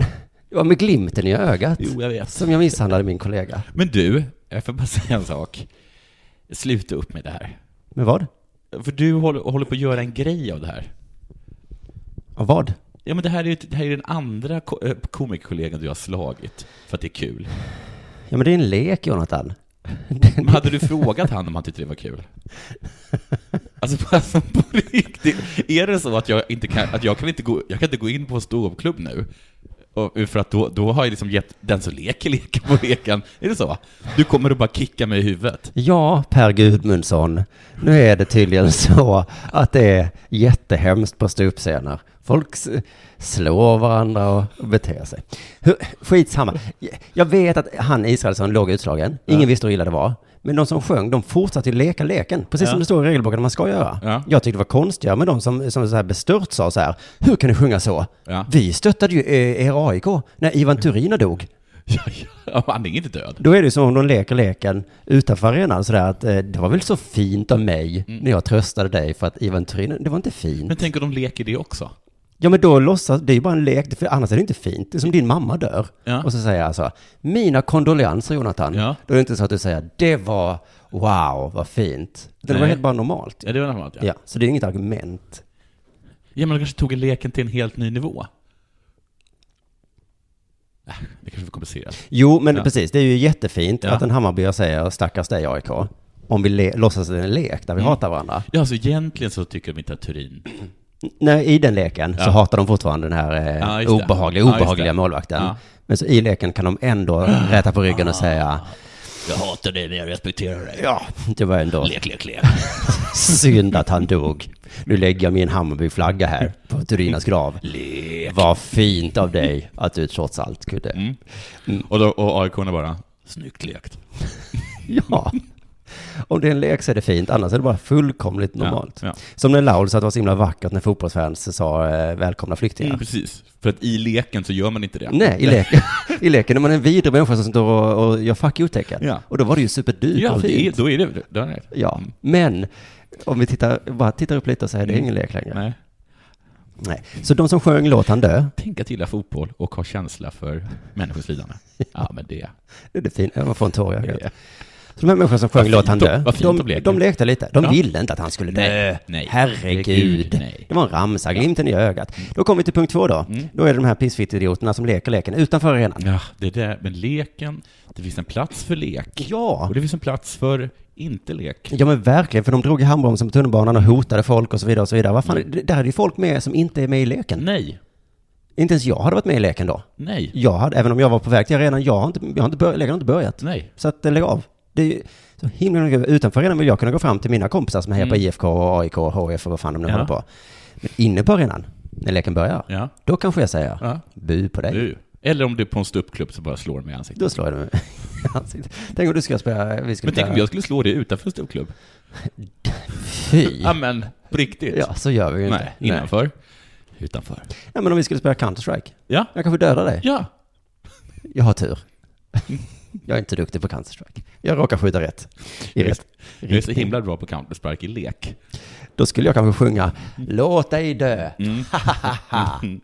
B: det var med glimten i ögat
C: Jo, jag vet.
B: som jag misshandlade min kollega.
C: Men du, jag får bara *laughs* säga en sak. Sluta upp med det här.
B: Med vad?
C: För du håller, håller på att göra en grej av det här.
B: Av vad?
C: Ja men det här är ju det här är den andra ko- eh, komikerkollegan du har slagit för att det är kul.
B: Ja men det är en lek Jonathan. *laughs*
C: Men hade du frågat han om han tyckte det var kul? Alltså på, alltså, på riktigt, är det så att jag inte kan, att jag kan inte gå, jag kan inte gå in på en ståuppklubb nu? Och, eh, för att då, då har jag liksom gett den som leker leken på leken. Är det så? Du kommer att bara kicka mig i huvudet.
B: Ja, Per Gudmundsson, nu är det tydligen *laughs* så att det är jättehemskt på ståuppscener. Folk s- slår varandra och beter sig. Hur- Skitsamma. Jag vet att han Israelsson låg utslagen. Ingen visste hur illa det var. Men de som sjöng, de fortsatte ju leka leken, precis
C: Ja.
B: som det står i regelboken att man ska göra.
C: Ja.
B: Jag tyckte det var konstigare med de som, som så här bestört sa så här, hur kan ni sjunga så?
C: Ja.
B: Vi stöttade ju eh, er AIK när Ivan Turina dog.
C: Ja, ja, han är inte död.
B: Då är det ju som om de leker leken utanför arenan sådär att eh, det var väl så fint av mig när jag tröstade dig för att Ivan Turin, det var inte fint.
C: Mm. Men tänk om de leker det också?
B: Ja men då låtsas, det är ju bara en lek, för annars är det inte fint. Det är som din mamma dör.
C: Ja.
B: Och så säger jag alltså, mina kondolenser Jonathan.
C: Ja.
B: Då är det inte så att du säger, det var, wow, vad fint. Det var
C: Nej.
B: helt bara normalt.
C: Ja, det var normalt ja.
B: Ja, så det är inget argument.
C: Ja, men de kanske tog leken till en helt ny nivå. Äh, Det kanske är för komplicerat.
B: Jo, men
C: Ja.
B: precis, det är ju jättefint
C: Ja.
B: att en Hammarbyare säger, stackars dig AIK. Om vi le- låtsas att det är en lek där vi
C: Mm.
B: hatar varandra.
C: Ja, alltså egentligen så tycker de inte att Turin...
B: Nej, i den leken så
C: Ja.
B: hatar de fortfarande den här eh,
C: Ja, just det.
B: obehagliga,
C: Ja, just
B: obehagliga
C: det.
B: målvakten.
C: Ja.
B: Men så i leken kan de ändå räta på ryggen och
C: Ah.
B: säga
C: Jag hatar dig, men jag respekterar dig.
B: ja, det var ändå
C: Lek, lek, lek.
B: synd att han dog. Nu lägger jag min Hammarby-flagga här på Turinas grav.
C: lek.
B: Vad fint av dig att du trots allt kunde.
C: Mm. Och, då, och aik bara, snyggt lekt.
B: Ja. Om det är en lek så är det fint, annars är det bara fullkomligt normalt.
C: Ja,
B: Som när Laul sa att det var så himla vackert när fotbollsfans sa eh, välkomna
C: ja.
B: flyktingar.
C: Mm, precis. För att i leken så gör man inte det.
B: Nej, i leken, *laughs* i leken är man en vidrig människa som står och, och gör fuck you-tecken.
C: Ja.
B: Och då var det ju superdyrt
C: Ja,
B: och
C: det, är-
B: fint.
C: då är det... Då är det.
B: Ja,
C: Mm.
B: men om vi tittar, bara tittar upp lite och säger det är ingen lek längre. Nej.
C: Nej.
B: Så de som sjöng Låt han dö,
C: Tänk att gilla fotboll och ha känsla för människors lidande. Ja, men det...
B: det är det fina, jag får en tår i ögat.
C: det-
B: Så de här människorna som sjöng Låt han
C: fint
B: dö,
C: de- vad fint de
B: de,
C: leker.
B: de lekte lite. De
C: Ja.
B: ville inte att han skulle dö.
C: Nej, nej.
B: Herregud.
C: Herregud, nej. Mm.
B: Det var en ramsa, glimten i ögat. Då kommer vi till punkt två då. Då är det de här pissfittidioterna som leker leken utanför arenan.
C: Ja, det är det. Men leken, det finns en plats för lek.
B: Ja.
C: Och det finns en plats för inte lek.
B: Ja men verkligen, för de drog i handbromsen på tunnelbanan och hotade folk och så vidare och så vidare. Vad fan,
C: Mm.
B: det- där är det ju folk med som inte är med i leken.
C: Nej,
B: Inte ens jag hade varit med i leken då.
C: nej,
B: Jag hade, även om jag var på väg till arenan, jag har inte, jag har inte, börjat, leken har inte börjat.
C: nej.
B: Så att eh, lägg av. Det är ju så himla mycket. Utanför arenan vill jag kunna gå fram till mina kompisar som hejar på IFK och AIK och HF och vad fan de nu
C: Mm. Ja.
B: håller på. Men inne på arenan, när leken börjar,
C: Ja.
B: då kanske jag säger
C: Ja.
B: bu på dig.
C: Du. Eller om du är på en ståuppklubb så bara slår mig i ansiktet.
B: Då slår jag dem i *laughs* ansiktet. Tänk om du ska spela, vi skulle
C: Men tänk om
B: spela-
C: jag skulle slå dig utanför en ståuppklubb?
B: Fy.
C: Ja, men på riktigt?
B: Ja, så gör vi ju inte.
C: Nej, innanför? Utanför.
B: Nej, men om vi skulle spela Counter-Strike.
C: Ja,
B: Jag kanske dödar dig.
C: ja.
B: Jag har tur. *laughs* Jag är inte duktig på Counter-Strike. Jag råkar skjuta rätt. I rätt.
C: Jag är så himla bra på counterspark i lek.
B: Då skulle jag kanske sjunga Låt dig dö.
C: Mm.
B: *laughs*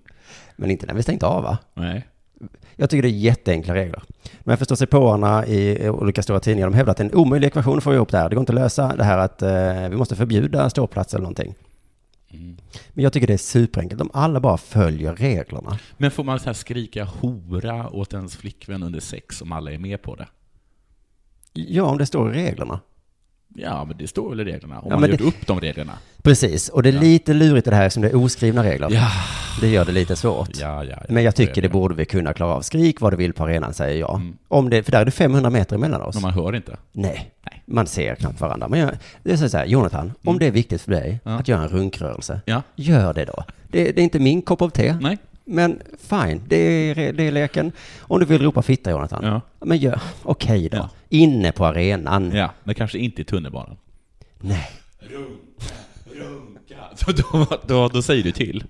B: Men inte när vi stängt av va?
C: Nej. Jag
B: Jag tycker det är jätteenkla regler. De här förståsigpåarna i olika stora tidningar, de hävdar att det är en omöjlig ekvation för att få ihop det här. Det går inte att lösa det här att eh, vi måste förbjuda ståplats eller någonting.
C: Mm.
B: Men jag tycker det är superenkelt. De alla bara följer reglerna.
C: Men får man så här skrika hora åt ens flickvän under sex om alla är med på det?
B: Ja, om det står i reglerna.
C: Ja, men det står väl i reglerna? Om
B: Ja,
C: man
B: men
C: har gjort
B: det-
C: upp de reglerna?
B: Precis, och det är lite lurigt i det här eftersom det är oskrivna regler.
C: Ja.
B: Det gör det lite svårt.
C: Ja, ja, ja.
B: Men jag
C: Så
B: tycker
C: är det.
B: det borde vi kunna klara av. Skrik vad du vill på arenan, säger jag. Om det, för där är det 500 meter emellan oss.
C: Men man hör inte?
B: Nej.
C: Nej. Mm.
B: Man ser knappt varandra. Men jag, det är så här, Jonathan, om det är viktigt för dig att göra en runkrörelse,
C: Ja.
B: gör det då. Det, det är inte min kopp av te.
C: Nej.
B: Men fine, det är, det är leken. Om du vill ropa fitta, Jonathan,
C: Ja.
B: men gör, okej då.
C: Ja.
B: Inne på arenan.
C: Ja, men kanske inte i tunnelbanan.
B: Nej. *laughs*
C: Runka, runka, *laughs* Så då, då, då säger du till.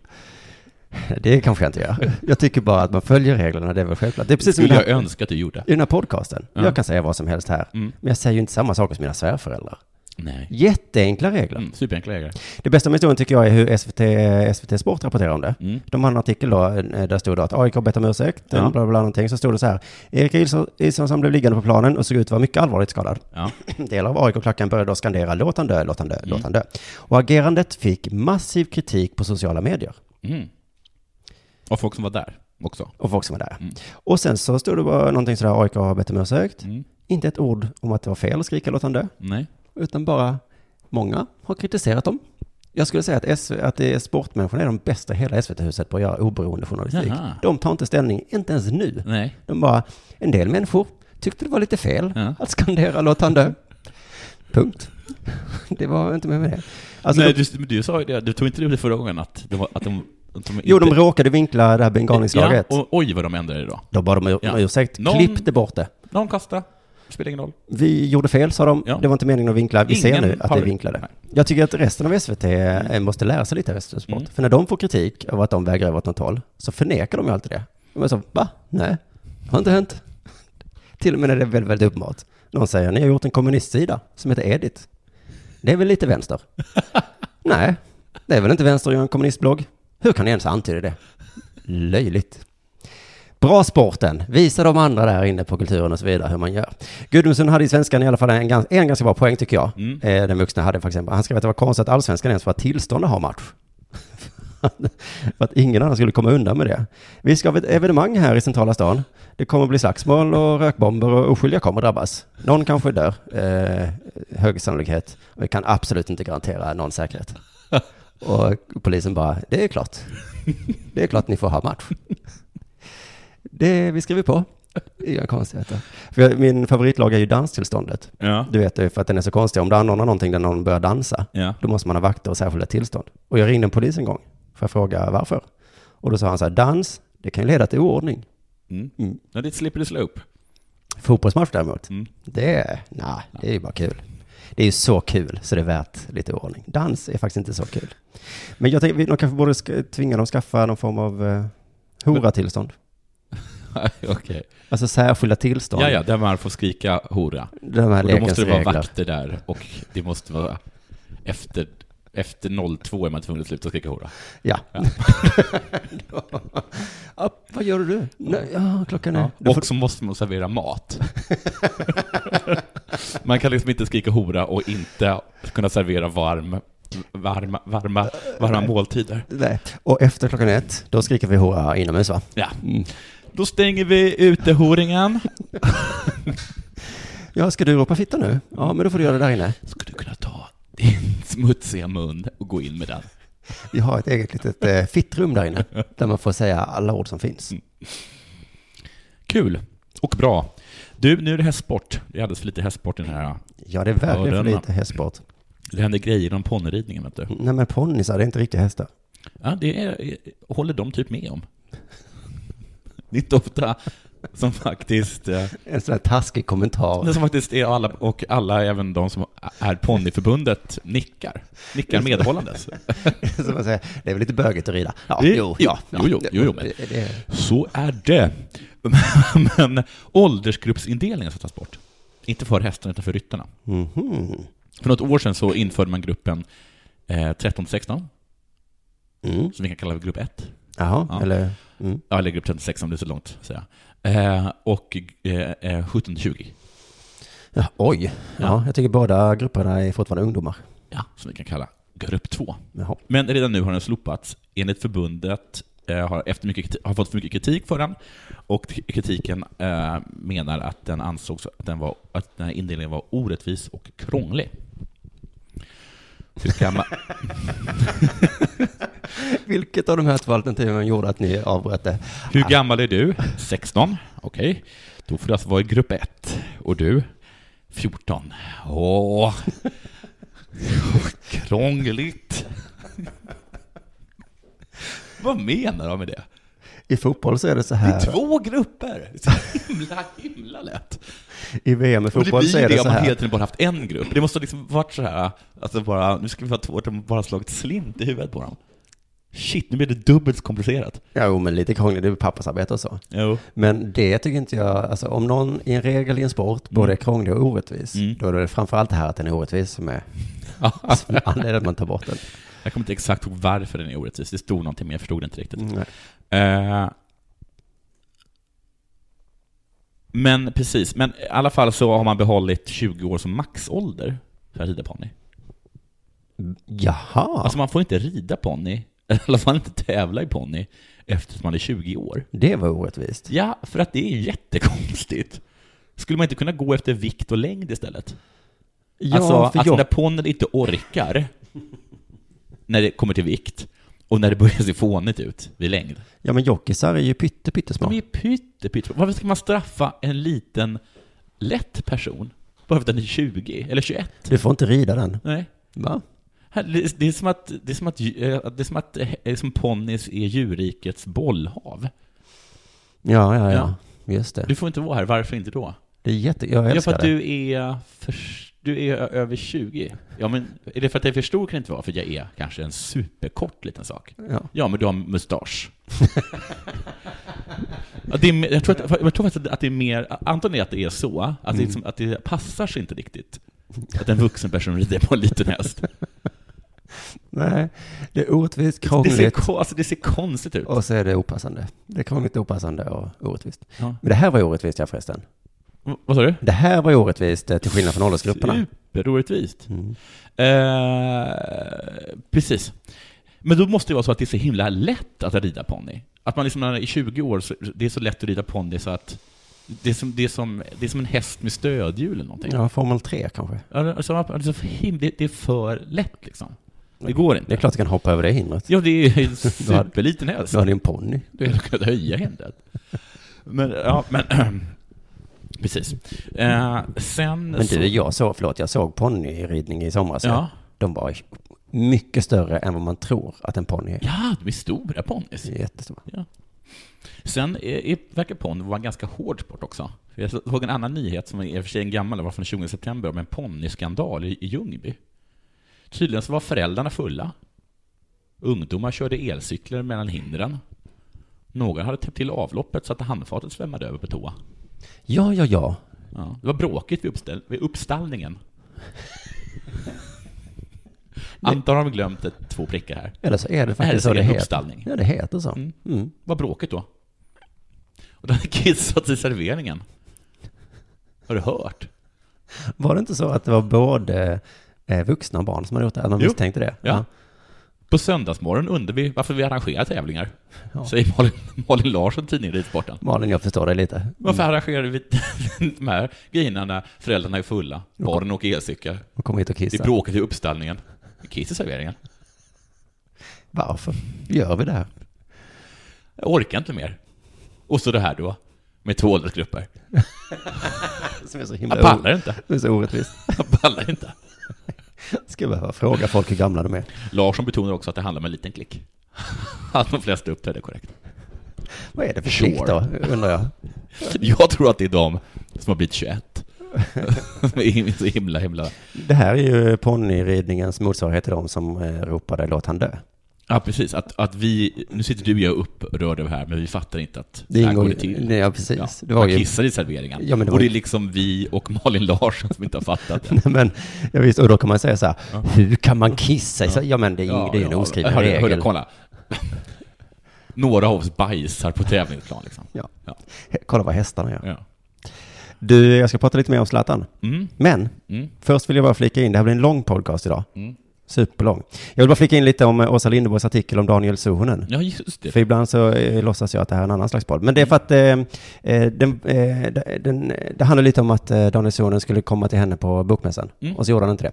B: Det kanske jag inte gör. Jag tycker bara att man följer reglerna, det är väl självklart. Det är precis som i
C: Skulle
B: den
C: jag
B: här,
C: önska att du gjorde.
B: i den här podcasten.
C: Ja.
B: Jag kan säga vad som helst här.
C: Mm.
B: Men jag säger ju inte samma saker som mina svärföräldrar.
C: Nej.
B: Jätteenkla regler.
C: Mm, superenkla ägare.
B: Det bästa med historien tycker jag är hur SVT, eh, SVT Sport rapporterar om det.
C: Mm.
B: De hade en artikel då, eh, där stod det att AIK har bett om ursäkt,
C: Ja.
B: bla bla bla någonting. Så stod det så här, Erik Ilsson- Ilsson blev liggande på planen och såg ut att vara mycket allvarligt skadad. *clears throat*
C: Ja.
B: Delar av AIK-klacken började då skandera låt han dö, låt han dö,
C: Mm.
B: låt han dö. Och agerandet fick massiv kritik på sociala medier.
C: Mm. Och folk som var där också.
B: Och folk som var där.
C: Mm.
B: Och sen så stod det bara någonting sådär, AIK har bett om ursäkt.
C: Mm.
B: Inte ett ord om att det var fel att skrika låt han dö,
C: Nej.
B: utan bara många har kritiserat dem. Jag skulle säga att, SV, att det är sportmänniskorna är de bästa i hela SVT-huset på att göra oberoende journalistik.
C: Jaha.
B: De tar inte ställning, inte ens nu.
C: Nej.
B: De bara, en del människor tyckte det var lite fel
C: Ja.
B: att skandera låt han dö. Punkt. Det var inte mer med det. Alltså,
C: Nej
B: de,
C: du, du sa ju det, du tog inte du det förra gången att de... Var, att de, att de
B: jo, de
C: inte-
B: råkade vinkla det här bengalningslaget.
C: Ja, och oj vad de ändrade det då.
B: Då bad de om
C: Ja.
B: ursäkt,
C: Någon-
B: klippte bort det.
C: Någon kasta, spelar ingen roll.
B: Vi gjorde fel, sa de.
C: Ja.
B: Det var inte meningen att vinkla. Vi ser
C: Ingen
B: nu att det är
C: power.
B: vinklade.
C: Nej. Mm.
B: Jag tycker att resten av SVT måste lära sig lite av SVT Sport. För när de får kritik av att de vägrar över åt något håll, så förnekar de ju alltid det. De är så, va? Nej, har inte hänt. *laughs* Till och med när det är väldigt, väldigt uppenbart. Någon säger, ni har gjort en kommunistsida som heter Edit. Det är väl
C: *laughs*
B: lite vänster? Nej, det är väl inte vänster att göra en kommunistblogg? Hur kan ni ens antyda det? Löjligt. Bra sporten. Visa de andra där inne på kulturen och så vidare hur man gör. Gudmundsson hade i svenskan i alla fall en, gans- en ganska bra poäng tycker jag.
C: Mm.
B: Eh, den vuxna hade faktiskt en- Han skrev att det var konstigt att allsvenskan ens var tillstånd att ha match. *laughs* För att ingen annan skulle komma undan med det. Vi ska ha ett evenemang här i centrala stan. Det kommer att bli slagsmål och rökbomber och oskyldiga kommer att drabbas. Någon kanske dör, eh, hög sannolikhet. Vi kan absolut inte garantera någon säkerhet. Och polisen bara, det är klart. Det är klart ni får ha match. Det vi skriver på. Inga konstigheter. För jag- min favoritlag är ju danstillståndet.
C: Ja.
B: Du vet det för att den är så konstig. Om du anordnar någonting där någon börjar dansa,
C: Ja.
B: då måste man ha vakter och särskilda tillstånd. Och jag ringde en polis en gång för att fråga varför. Och då sa han så här, dans, det kan ju leda till oordning.
C: Mm.
B: Mm.
C: Ja, det är ett slippery
B: *laughs*
C: slope.
B: Fotbollsmatch däremot,
C: Mm.
B: det, nah, det är ju bara kul. Det är ju så kul så det är värt lite ordning. Dans är faktiskt inte så kul. Men jag tänker, vi- de kanske borde sk- tvinga dem att skaffa någon form av eh, horatillstånd.
C: Okej.
B: Alltså särskilda tillstånd.
C: Ja, ja, där man får skrika hora.
B: De här
C: Och då måste
B: lekens
C: det vara
B: regler.
C: vakter där och det måste vara efter, efter 02 är man tvungen att sluta skrika hora.
B: Ja. ja. Vad gör du? Nej, ja, klockan är... Du
C: Och
B: får-
C: så måste man servera
B: *laughs*
C: mat. man kan liksom inte skrika hora och inte kunna servera varm, varma, varma, varma måltider.
B: Nej. Och efter klockan ett, då skriker vi hurra inomhus va?
C: Ja. Då stänger vi utehoringen.
B: Ja, ska du ropa fitta nu? Ja, men då får du göra det där inne.
C: Skulle du kunna ta din smutsiga mun och gå in med den?
B: Vi har ett eget litet eh, fittrum där inne, där man får säga alla ord som finns.
C: Mm. Kul och bra. Du, nu är det hästsport. Det är alldeles för lite hästsport i den här.
B: Ja, det är verkligen för
C: Ja, den-
B: lite hästsport.
C: Det händer grejer om ponnyridningen, vet du.
B: Nej, men ponnysar, det är inte riktigt hästar.
C: Ja, det är, håller de typ med om. Det är inte ofta som faktiskt... eh,
B: En sån här taskig kommentar.
C: Det som faktiskt är alla, och alla, även de som är ponnyförbundet, nickar. Nickar medhållandes.
B: *laughs* som man säger, det är väl lite bögigt att rida? Ja,
C: Det- ja, jo, jo, jo, jo, men-
B: Det-
C: *laughs*
B: det-
C: Så är det. *laughs* Men åldersgruppsindelningen ska tas bort. Inte för hästarna, utan för ryttarna.
B: Mhm.
C: För något år sedan så införde man gruppen eh, 13-16,
B: Mm.
C: som vi kan kalla för grupp 1.
B: Jaha,
C: Ja.
B: eller... Mm.
C: Ja, eller grupp 36 om det är så långt, säger jag. Eh, och eh, eh, 17-20,
B: Ja, oj. Ja.
C: Ja.
B: jag tycker båda grupperna är fortfarande ungdomar.
C: ja, som vi kan kalla grupp 2.
B: Jaha.
C: Men redan nu har den slopats. Enligt förbundet eh, har, efter mycket, kriti- har fått för mycket kritik för den och t- kritiken eh, menar att den ansågs att den, var, att den här indelningen var orättvis och krånglig. Hur kan man,
B: Vilket av de här två alternativen gjorde att ni avbröt det?
C: Hur gammal är du? 16. Okej. Då får du alltså vara i grupp 1. Och du? 14. Åh. Krångligt. Vad menar de med det?
B: I fotboll så är det så
C: Det är
B: här.
C: två grupper! Det är *laughs* så himla, himla lätt.
B: I VM i
C: Och det
B: fotboll
C: blir
B: så
C: ju
B: är
C: det
B: det
C: om
B: så
C: man hela
B: här.
C: tiden bara haft en grupp. Det måste ha liksom varit så här, alltså bara, nu ska vi vara två, de har bara slagit slint i huvudet på dem. Shit, nu blir det dubbelt så komplicerat.
B: Jo, men lite krångligt. Det är pappersarbete och så.
C: Jo.
B: Men det tycker inte jag, alltså om någon i en regel i en sport både är krånglig och orättvis,
C: Mm.
B: då är det framförallt det här att den är orättvis
C: *laughs*
B: som är som är anledningen att man tar bort den.
C: Jag kommer inte exakt ihåg varför den är orättvis, det stod någonting men jag förstod det inte riktigt.
B: Nej.
C: Eh, men precis, men i alla fall så har man behållit 20 år som maxålder för att rida ponny.
B: Jaha,
C: Alltså man får inte rida ponny, *laughs* i alla fall inte tävla i ponny, eftersom man är 20 år.
B: det var orättvist.
C: Ja, för att det är jättekonstigt. Skulle man inte kunna gå efter vikt och längd istället?
B: Ja,
C: alltså,
B: för
C: att
B: jag,
C: när ponnyn inte orkar, när det kommer till vikt, och när det börjar se fånigt ut vid längd.
B: ja, men jockisar är ju pytte, pyttesmå.
C: De är pytte, pytte. Varför ska man straffa en liten, lätt person? Bara för att den är 20, eller 21?
B: Du får inte rida den.
C: Nej.
B: Va?
C: Här, Det det är som att, det är som att, eh, det är som att, eh, det är som ponnys är djurrikets bollhav.
B: Ja, ja, ja.
C: Ja.
B: Just det.
C: Du får inte vara här, varför inte då?
B: Det är jätte... Jag
C: Ja, för
B: älskar
C: att
B: det.
C: du är, för, du är ö- över 20. Ja, men är det för att jag är för stor kan det inte vara, för jag är kanske en superkort liten sak.
B: Ja.
C: Ja, men du har mustasch. *laughs* ja, det är, mer- jag tror, att, jag tror faktiskt att det är mer, antagligen är att det är så, att,
B: Mm.
C: det, är liksom, att det passar sig inte riktigt. Att en vuxen person rider på en liten häst.
B: Nej, det är orättvist,
C: Det ser,
B: krångligt
C: ko- alltså, det ser konstigt ut.
B: och så är det opassande. Det är krångligt, opassande och orättvist.
C: Ja.
B: Men det här var ju orättvist, ja förresten.
C: V- Vad sa du?
B: Det här var ju orättvist eh, till skillnad från åldersgrupperna.
C: Superorättvist.
B: Mm.
C: Eh, precis. Men då måste det vara så att det är så himla lätt att rida ponny. Att man liksom när man är 20 år, så, det är så lätt att rida ponny så att det är som, det är som, det är som en häst med stödhjul eller någonting.
B: Ja, Formel 3 kanske.
C: Ja. Alltså, man- alltså, för him- det, det är för lätt liksom. Det går
B: Det är
C: inte.
B: klart du kan hoppa över det hindret.
C: Ja, det är ju
B: *laughs*
C: en superliten häst.
B: Du hade ju en ponny.
C: Du hade kunnat höja hindret. Men, ja, men... *clears throat* precis. Eh, sen...
B: Men
C: så-
B: du, jag såg, förlåt, jag såg ponnyridning i somras.
C: Ja.
B: De var mycket större än vad man tror att en ponny är.
C: Ja, de är stora ponnys.
B: Jättestora.
C: Sen är, är, verkar ponny vara en ganska hård sport också. För Jag såg en annan nyhet som är i och för sig en gammal, den var från 20 september, om en ponnyskandal i, i Ljungby. Tydligen så var föräldrarna fulla. Ungdomar körde elcyklar mellan hindren. Några hade täppt till avloppet så att handfatet svämmade över på toa.
B: Ja, ja, ja.
C: Ja. Det var bråkigt vid, uppställ- vid
B: *laughs*
C: uppstallningen. Antar har de glömt ett, två prickar här.
B: Eller så är det
C: Här
B: faktiskt så
C: ser
B: det
C: jag
B: heter.
C: uppstallning.
B: Ja, det heter så.
C: Mm.
B: Mm.
C: Vad bråkigt då? Och den hade kissat i serveringen. Har du hört?
B: Var det inte så att det var både eh, vuxna och barn som hade gjort det? Att man
C: Jo.
B: misstänkte det?
C: Ja. På söndagsmorgon undrar vi varför vi arrangerar tävlingar,
B: Ja.
C: säger Malin, Malin Larsson, tidningen Ridsporten.
B: Malin, jag förstår dig lite.
C: Varför arrangerar vi *laughs* de här grejerna när föräldrarna är fulla, barnen åker elcykel,
B: Och kom hit och
C: det är
B: kissa.
C: bråkigt i uppställningen, kiss i serveringen.
B: Varför gör vi det här? *laughs*
C: Jag orkar inte mer. Och så det här då, med två åldersgrupper.
B: Som är så himla
C: Jag pallar inte.
B: Det är så orättvist.
C: Jag pallar inte.
B: Ska jag behöva fråga folk hur gamla de är.
C: Larsson betonar också att det handlar om en liten klick. Att de flesta uppträdde korrekt.
B: Vad är det för
C: Sure.
B: klick då, undrar jag.
C: *laughs* Jag tror att det är de som har blivit 21. Som är *laughs* så himla, himla...
B: Det här är ju ponnyridningens motsvarighet till de som eh, ropade låt han dö.
C: Ja, precis. Att, att vi... Nu sitter du och jag upprörd över det här, men vi fattar inte att
B: Det
C: det här
B: ingår
C: går det
B: ju...
C: till.
B: Nej, ja, precis.
C: Ja,
B: det var
C: man
B: ju...
C: kissar i serveringen.
B: Ja, men det var
C: och det
B: ju-
C: är liksom vi och Malin Larsson som inte har fattat det.
B: *laughs* Nej, *laughs* men, ja, visst, och då kan man säga så här, hur kan man kissa? Ja, ja men det är ju det är ju en oskriven
C: hörru,
B: regel.
C: Hörru, kolla. *laughs* Några av oss bajsar på tävlingsplan liksom.
B: Ja.
C: Ja.
B: He- Kolla vad hästarna gör.
C: Ja.
B: Du, jag ska prata lite mer om Zlatan.
C: Mm.
B: Men
C: Mm.
B: först vill jag bara flika in, det här blir en lång podcast idag.
C: Mm.
B: Superlång. Jag vill bara flika in lite om eh, Åsa Linderborgs artikel om Daniel Suhonen.
C: ja, just det. Mm.
B: För ibland så eh, låtsas jag att det här är en annan slags podd. Men det är för att eh, eh, den, eh, d- den, eh, det handlar lite om att eh, Daniel Suhonen skulle komma till henne på bokmässan.
C: Mm.
B: Och så gjorde han inte det.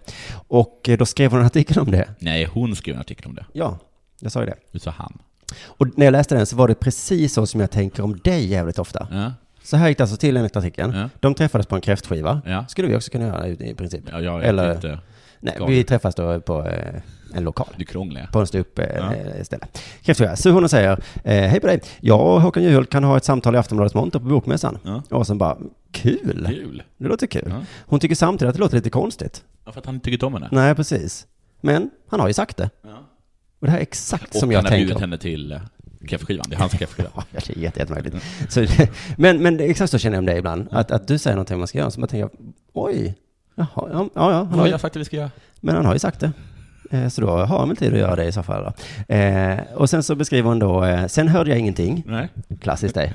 B: Och eh, då skrev hon en artikel om det.
C: Nej, hon skrev en artikel om det.
B: Ja, jag sa ju det.
C: Du sa han.
B: Och när jag läste den så var det precis så som jag tänker om dig jävligt ofta.
C: Ja.
B: Så här gick det alltså till enligt artikeln.
C: Ja.
B: De träffades på en kräftskiva.
C: Ja.
B: Skulle vi också kunna göra i i princip.
C: Ja, jag vet
B: Eller-
C: inte.
B: Nej,
C: Galet.
B: vi träffas då på eh, en lokal.
C: Du krångliga.
B: På en stup eh,
C: Ja.
B: eh, ställe. Kräftskiva. Så hon säger, eh, hej på dig. Jag och Håkan Juholt kan ha ett samtal i Aftonbladets monter på Bokmässan.
C: Ja.
B: Och sen bara, kul.
C: Kul.
B: Det låter kul.
C: Ja.
B: Hon tycker samtidigt att det låter lite konstigt.
C: Ja, För att han inte tyckte om henne.
B: Nej, precis. Men han har ju sagt det.
C: Ja.
B: Och det här är exakt
C: Och
B: som
C: han
B: jag
C: har
B: tänker.
C: bjudit henne till eh, kräftskivan. Det är hans kräftskiva.
B: Ja, det är jätte- jättemärkligt. Så, *laughs* men, men det är exakt så känner jag om dig ibland. Att, att du säger någonting man ska göra, så man tänker, oj, jaha, ja, ja, *laughs* ja, han
C: Vad
B: har
C: har
B: ju,
C: jag sagt att vi ska göra?
B: men han har ju sagt det. Eh, Så då har han väl tid att göra det i så fall. Då. Eh, och sen så beskriver hon då, eh, sen hörde jag ingenting,
C: Nej. *laughs*
B: klassiskt dig.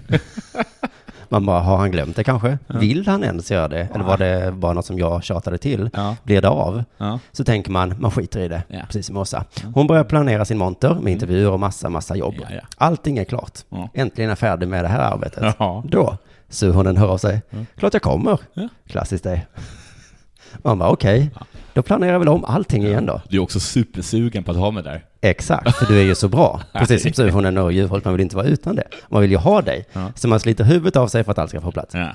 B: Man bara, har han glömt det kanske? Vill han ens göra det? Eller var det bara något som jag tjatade till?
C: Ja.
B: Blir det av?
C: Ja.
B: Så tänker man, man skiter i det,
C: Ja.
B: precis som Åsa. Hon börjar planera sin monter med intervjuer och massa, massa jobb.
C: Ja, ja.
B: Allting är klart.
C: Ja.
B: Äntligen är jag färdig med det här arbetet.
C: Jaha.
B: Då, surhunden hör av sig. Klart jag kommer.
C: Mm. Ja.
B: Klassiskt dig. *laughs* Man bara, okej, då planerar jag väl om allting igen då.
C: Du är också supersugen på att ha mig där.
B: Exakt, för du är ju
C: *laughs*
B: så bra. Precis som surhunden och djurhållet, man vill inte vara utan det. Man vill ju ha dig.
C: Ja.
B: Så man sliter huvudet av sig för att allt ska få plats.
C: Ja.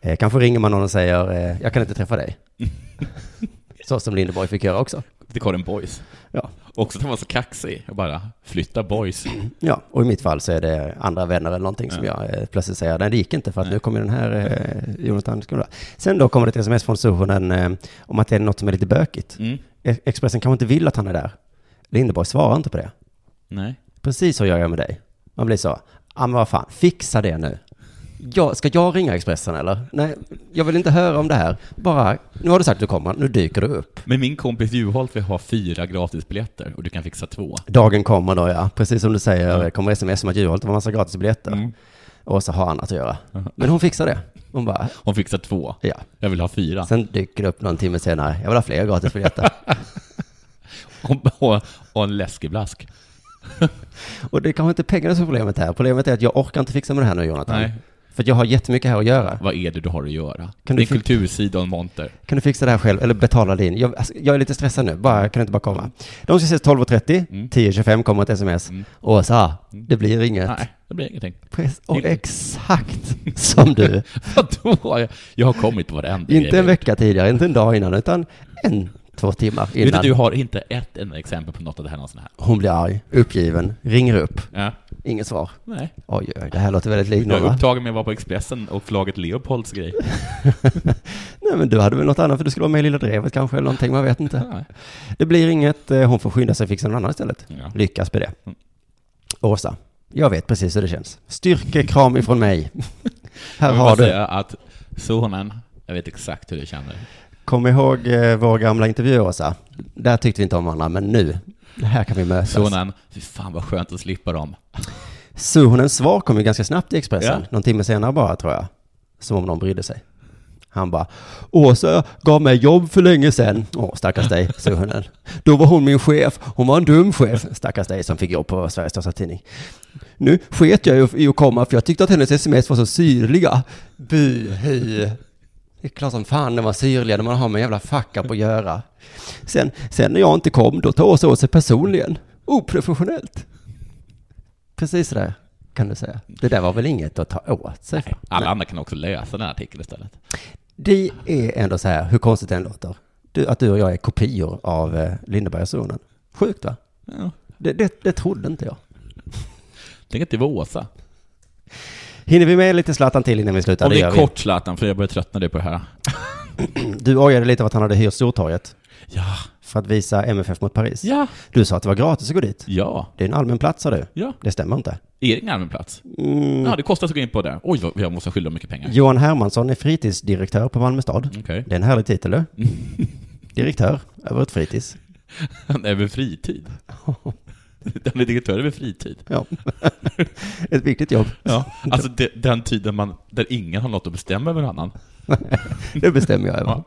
B: Eh, kanske ringer man någon och säger, eh, jag kan inte
C: *laughs*
B: träffa dig. så som Lindeborg fick göra också.
C: Till Karin Boys.
B: Ja.
C: Också att han var så kaxig. Jag bara, flytta boys.
B: Ja, och i mitt fall så är det andra vänner eller någonting som jag eh, plötsligt säger, nej det gick inte för att nu kommer den här eh, Jonathan Skola. Sen då kommer det ett sms från surhunden eh, om att det är något som är lite bökigt.
C: Mm.
B: E- Expressen kanske inte vill att han är där. Lindeborg svarar inte på det.
C: Nej.
B: Precis så gör jag med dig. Man blir så, ja men vad fan, fixa det nu. Jag, ska jag ringa Expressen eller? Nej, jag vill inte höra om det här. Bara, nu har du sagt att du kommer, nu dyker du upp.
C: Men min kompis Juholt vill ha fyra gratisbiljetter och du kan fixa två.
B: Dagen kommer då ja, Mm. precis som du säger, kommer sms om att Juholt har en massa gratisbiljetter.
C: Mm.
B: Och så har han att göra. Men hon fixar det. Hon bara,
C: Hon fixar två.
B: ja.
C: Jag vill ha fyra.
B: Sen dyker det upp någon timme senare, jag vill ha
C: *laughs*
B: fler gratisbiljetter.
C: Och, och, och en läskeblask.
B: och det är kanske inte pengarna som är problemet här. Problemet är att jag orkar inte fixa med det här nu Jonathan.
C: Nej.
B: För att jag har jättemycket här att göra.
C: Vad är det du har att göra?
B: Kan
C: det
B: du
C: är
B: fi-
C: kultursida och en monter.
B: Kan du fixa det här själv? Eller betala din? Jag, alltså, jag är lite stressad nu, bara, kan du inte bara komma? De ska ses 12.30,
C: Mm.
B: 10.25 kommer ett sms. Åsa, det blir inget.
C: Nej, det blir ingenting. *laughs*
B: Press- Och exakt som du.
C: Vadå? Jag har kommit på varenda
B: Inte
C: grej.
B: en vecka tidigare, inte en dag innan, utan en, två timmar
C: Vet du,
B: innan.
C: du har inte ett enda exempel på något av det här någonsin här.
B: Hon blir arg, uppgiven, ringer upp,
C: Ja.
B: inget svar.
C: Nej.
B: Oj, oj, det här låter väldigt likt
C: Jag
B: någon
C: är
B: va?
C: upptagen med att vara på Expressen och förlaget Leopolds grej.
B: Nej, men du hade väl något annat för du skulle vara med i Lilla Drevet kanske, eller någonting, man
C: *laughs*
B: vet inte.
C: Nej.
B: Det blir inget, eh, hon får skynda sig och fixa någon annan istället.
C: Ja.
B: Lyckas med det. Åsa, jag vet precis hur det känns. Styrkekram ifrån mig. Här
C: Jag vill
B: har
C: bara
B: du.
C: säga att sonen, jag vet exakt hur du känner.
B: Kom ihåg eh, vår gamla intervju, Åsa. Där tyckte vi inte om varandra, men nu, här kan vi mötas.
C: Sonen, fy fan vad skönt att slippa dem.
B: Suhonens svar kom ju ganska snabbt i Expressen,
C: Ja.
B: någon timme senare bara tror jag. Som om någon brydde sig. Han bara, Åsa gav mig jobb för länge sedan. Åh, stackars dig, Suhonen. Då var hon min chef, hon var en dum chef. Stackars dig som fick jobb på Sveriges största tidning. Nu sket jag ju i att komma för jag tyckte att hennes sms var så syrliga. Buhu. Det är klart som fan de var syrliga när man har med en jävla fuck up att göra. Sen, sen när jag inte kom, då tar Åsa åt sig personligen. Oprofessionellt. Precis det där kan du säga. Det där var väl inget att ta åt sig för.
C: Alla andra kan också läsa den här artikeln istället.
B: Det är ändå så här, hur konstigt det än låter, du, att du och jag är kopior av eh, Lindebergsonen. Sjukt va?
C: Ja.
B: Det, det, det trodde inte jag.
C: Tänk att det var Åsa.
B: Hinner vi med lite Zlatan till innan vi slutar?
C: Om det
B: gör
C: är
B: vi.
C: kort Zlatan, för jag börjar tröttna dig på det här.
B: *clears throat* Du ojade lite av att han hade hyrt Stortorget
C: Ja.
B: för att visa MFF mot Paris.
C: Ja.
B: Du sa att det var gratis att gå dit.
C: Ja.
B: Det är en allmän plats sa du.
C: Ja.
B: Det stämmer inte.
C: Är det ingen allmän plats?
B: Mm.
C: Ja, det kostar att gå in på det. Oj, vad- jag måste skylda mycket pengar.
B: Johan Hermansson är fritidsdirektör på Malmö stad.
C: Okej.
B: Det är en härlig
C: *laughs*
B: titel du. Direktör över ett fritids.
C: Han är väl
B: *laughs*
C: fritid? Han är direktör över fritid.
B: Ja. *laughs* ett viktigt jobb.
C: Ja, *laughs* alltså de, den tiden man, där ingen har något att bestämma över någon annan.
B: Det bestämmer jag över.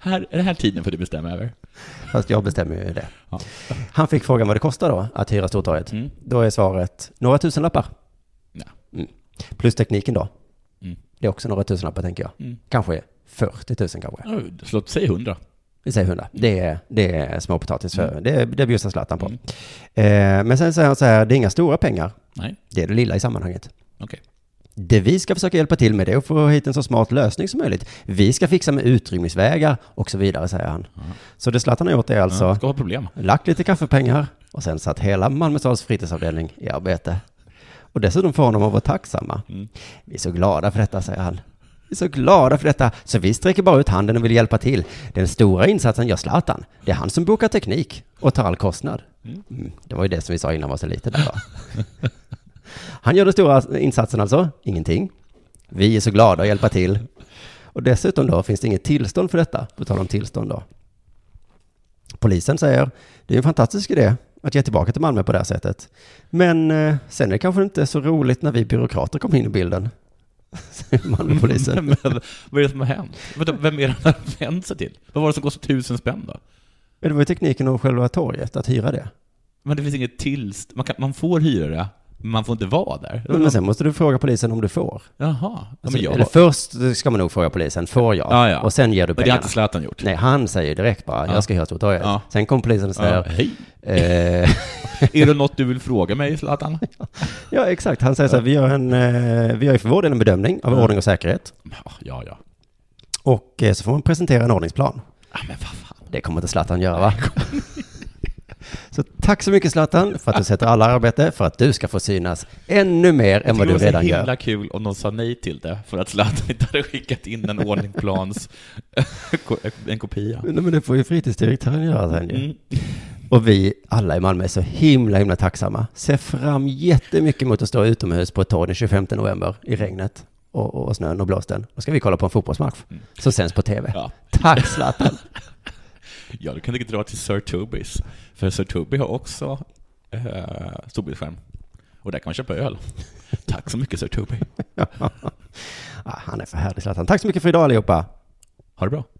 C: Här, är det här tiden för dig att bestämma över?
B: Fast jag bestämmer ju det.
C: Ja. Mm.
B: Han fick frågan vad det kostar då att hyra Stortorget. Då är svaret några tusenlappar.
C: Ja.
B: Mm. Plus tekniken då.
C: Mm.
B: Det är också några tusenlappar tänker jag.
C: Mm.
B: Kanske 40 000 kanske.
C: Oj, Så låt säga hundra.
B: Vi säger 100. Det är, det är småpotatis. För, det, det bjussar Zlatan på.
C: Mm.
B: Eh, men sen säger han så här, det är inga stora pengar.
C: Nej,
B: Det är det lilla i sammanhanget.
C: okej.
B: Det vi ska försöka hjälpa till med det är att få hit en så smart lösning som möjligt. Vi ska fixa med utrymningsvägar och så vidare, säger han. Så det Zlatan har gjort är alltså
C: Ska ha
B: *laughs*
C: problem. *laughs*
B: lagt lite kaffepengar och sen satt hela Malmö stads fritidsavdelning i arbete. Och dessutom får honom att vara tacksamma. Vi är så glada för detta, säger han. Vi är så glada för detta, så vi sträcker bara ut handen och vill hjälpa till. Den stora insatsen gör Zlatan. Det är han som bokar teknik och tar all kostnad. Mm. Det var ju det som vi sa innan var så lite där va? Han gör den stora insatsen alltså, ingenting. Vi är så glada att hjälpa till. Och dessutom då finns det inget tillstånd för detta, på tal om tillstånd då. Polisen säger, det är en fantastisk idé att ge tillbaka till Malmö på det här sättet. Men eh, sen är det kanske inte så roligt när vi byråkrater kommer in i bilden. *laughs* Säger Malmöpolisen.
C: Men vad är det som har hänt? Vänta, Vem är det han har vänt sig till? Vad var det som kostade tusen spänn då?
B: Men det var ju tekniken om själva torget, att hyra det.
C: Men det finns inget tillstånd. Man, kan- man får hyra det, men man får inte vara där.
B: Men sen måste du fråga polisen om du får. Alltså,
C: Jaha. Ja, men, jag,
B: Eller först ska man nog fråga polisen, får jag?
C: Ja, ja.
B: Och sen ger du
C: men det har
B: pengarna.
C: inte Zlatan gjort.
B: Typ. Nej, han säger direkt bara, jag ska hyra Stortorget.
C: Ja.
B: Sen kom polisen och
C: Ja,
B: säger,
C: hej.
B: eh, *laughs*
C: Är det något du vill fråga mig, Zlatan?
B: ja exakt, han säger så här, vi gör, en, eh, vi gör ju för vår del en bedömning av ordning och säkerhet.
C: Ja, ja.
B: Och eh, så får man presentera en ordningsplan.
C: Ja, men vad fan.
B: Det kommer inte Zlatan göra
C: *laughs*
B: va? Så tack så mycket Zlatan för att du sätter alla i arbete för att du ska få synas ännu mer än vad
C: Det
B: du
C: vore så
B: redan
C: himla
B: gör.
C: kul om någon sa nej till det för att Zlatan inte hade skickat in en ordningsplans, *laughs* en kopia.
B: Nej men det får ju fritidsdirektören göra sen ju.
C: Mm.
B: Och vi alla i Malmö är så himla himla tacksamma. Ser fram jättemycket mot att stå utomhus på ett torg den 25 november i regnet och, och snön och blåsten. Då ska vi kolla på en fotbollsmatch som sänds på tv.
C: Ja.
B: Tack Zlatan! *laughs*
C: Ja, du kan inte dra till Sir Tobis. För Sir Toby har också eh, storbildsskärm. Och där kan man köpa öl. Tack så mycket Sir Toby.
B: ah, han är för härlig Zlatan. Tack så mycket för idag allihopa!
C: Ha det bra.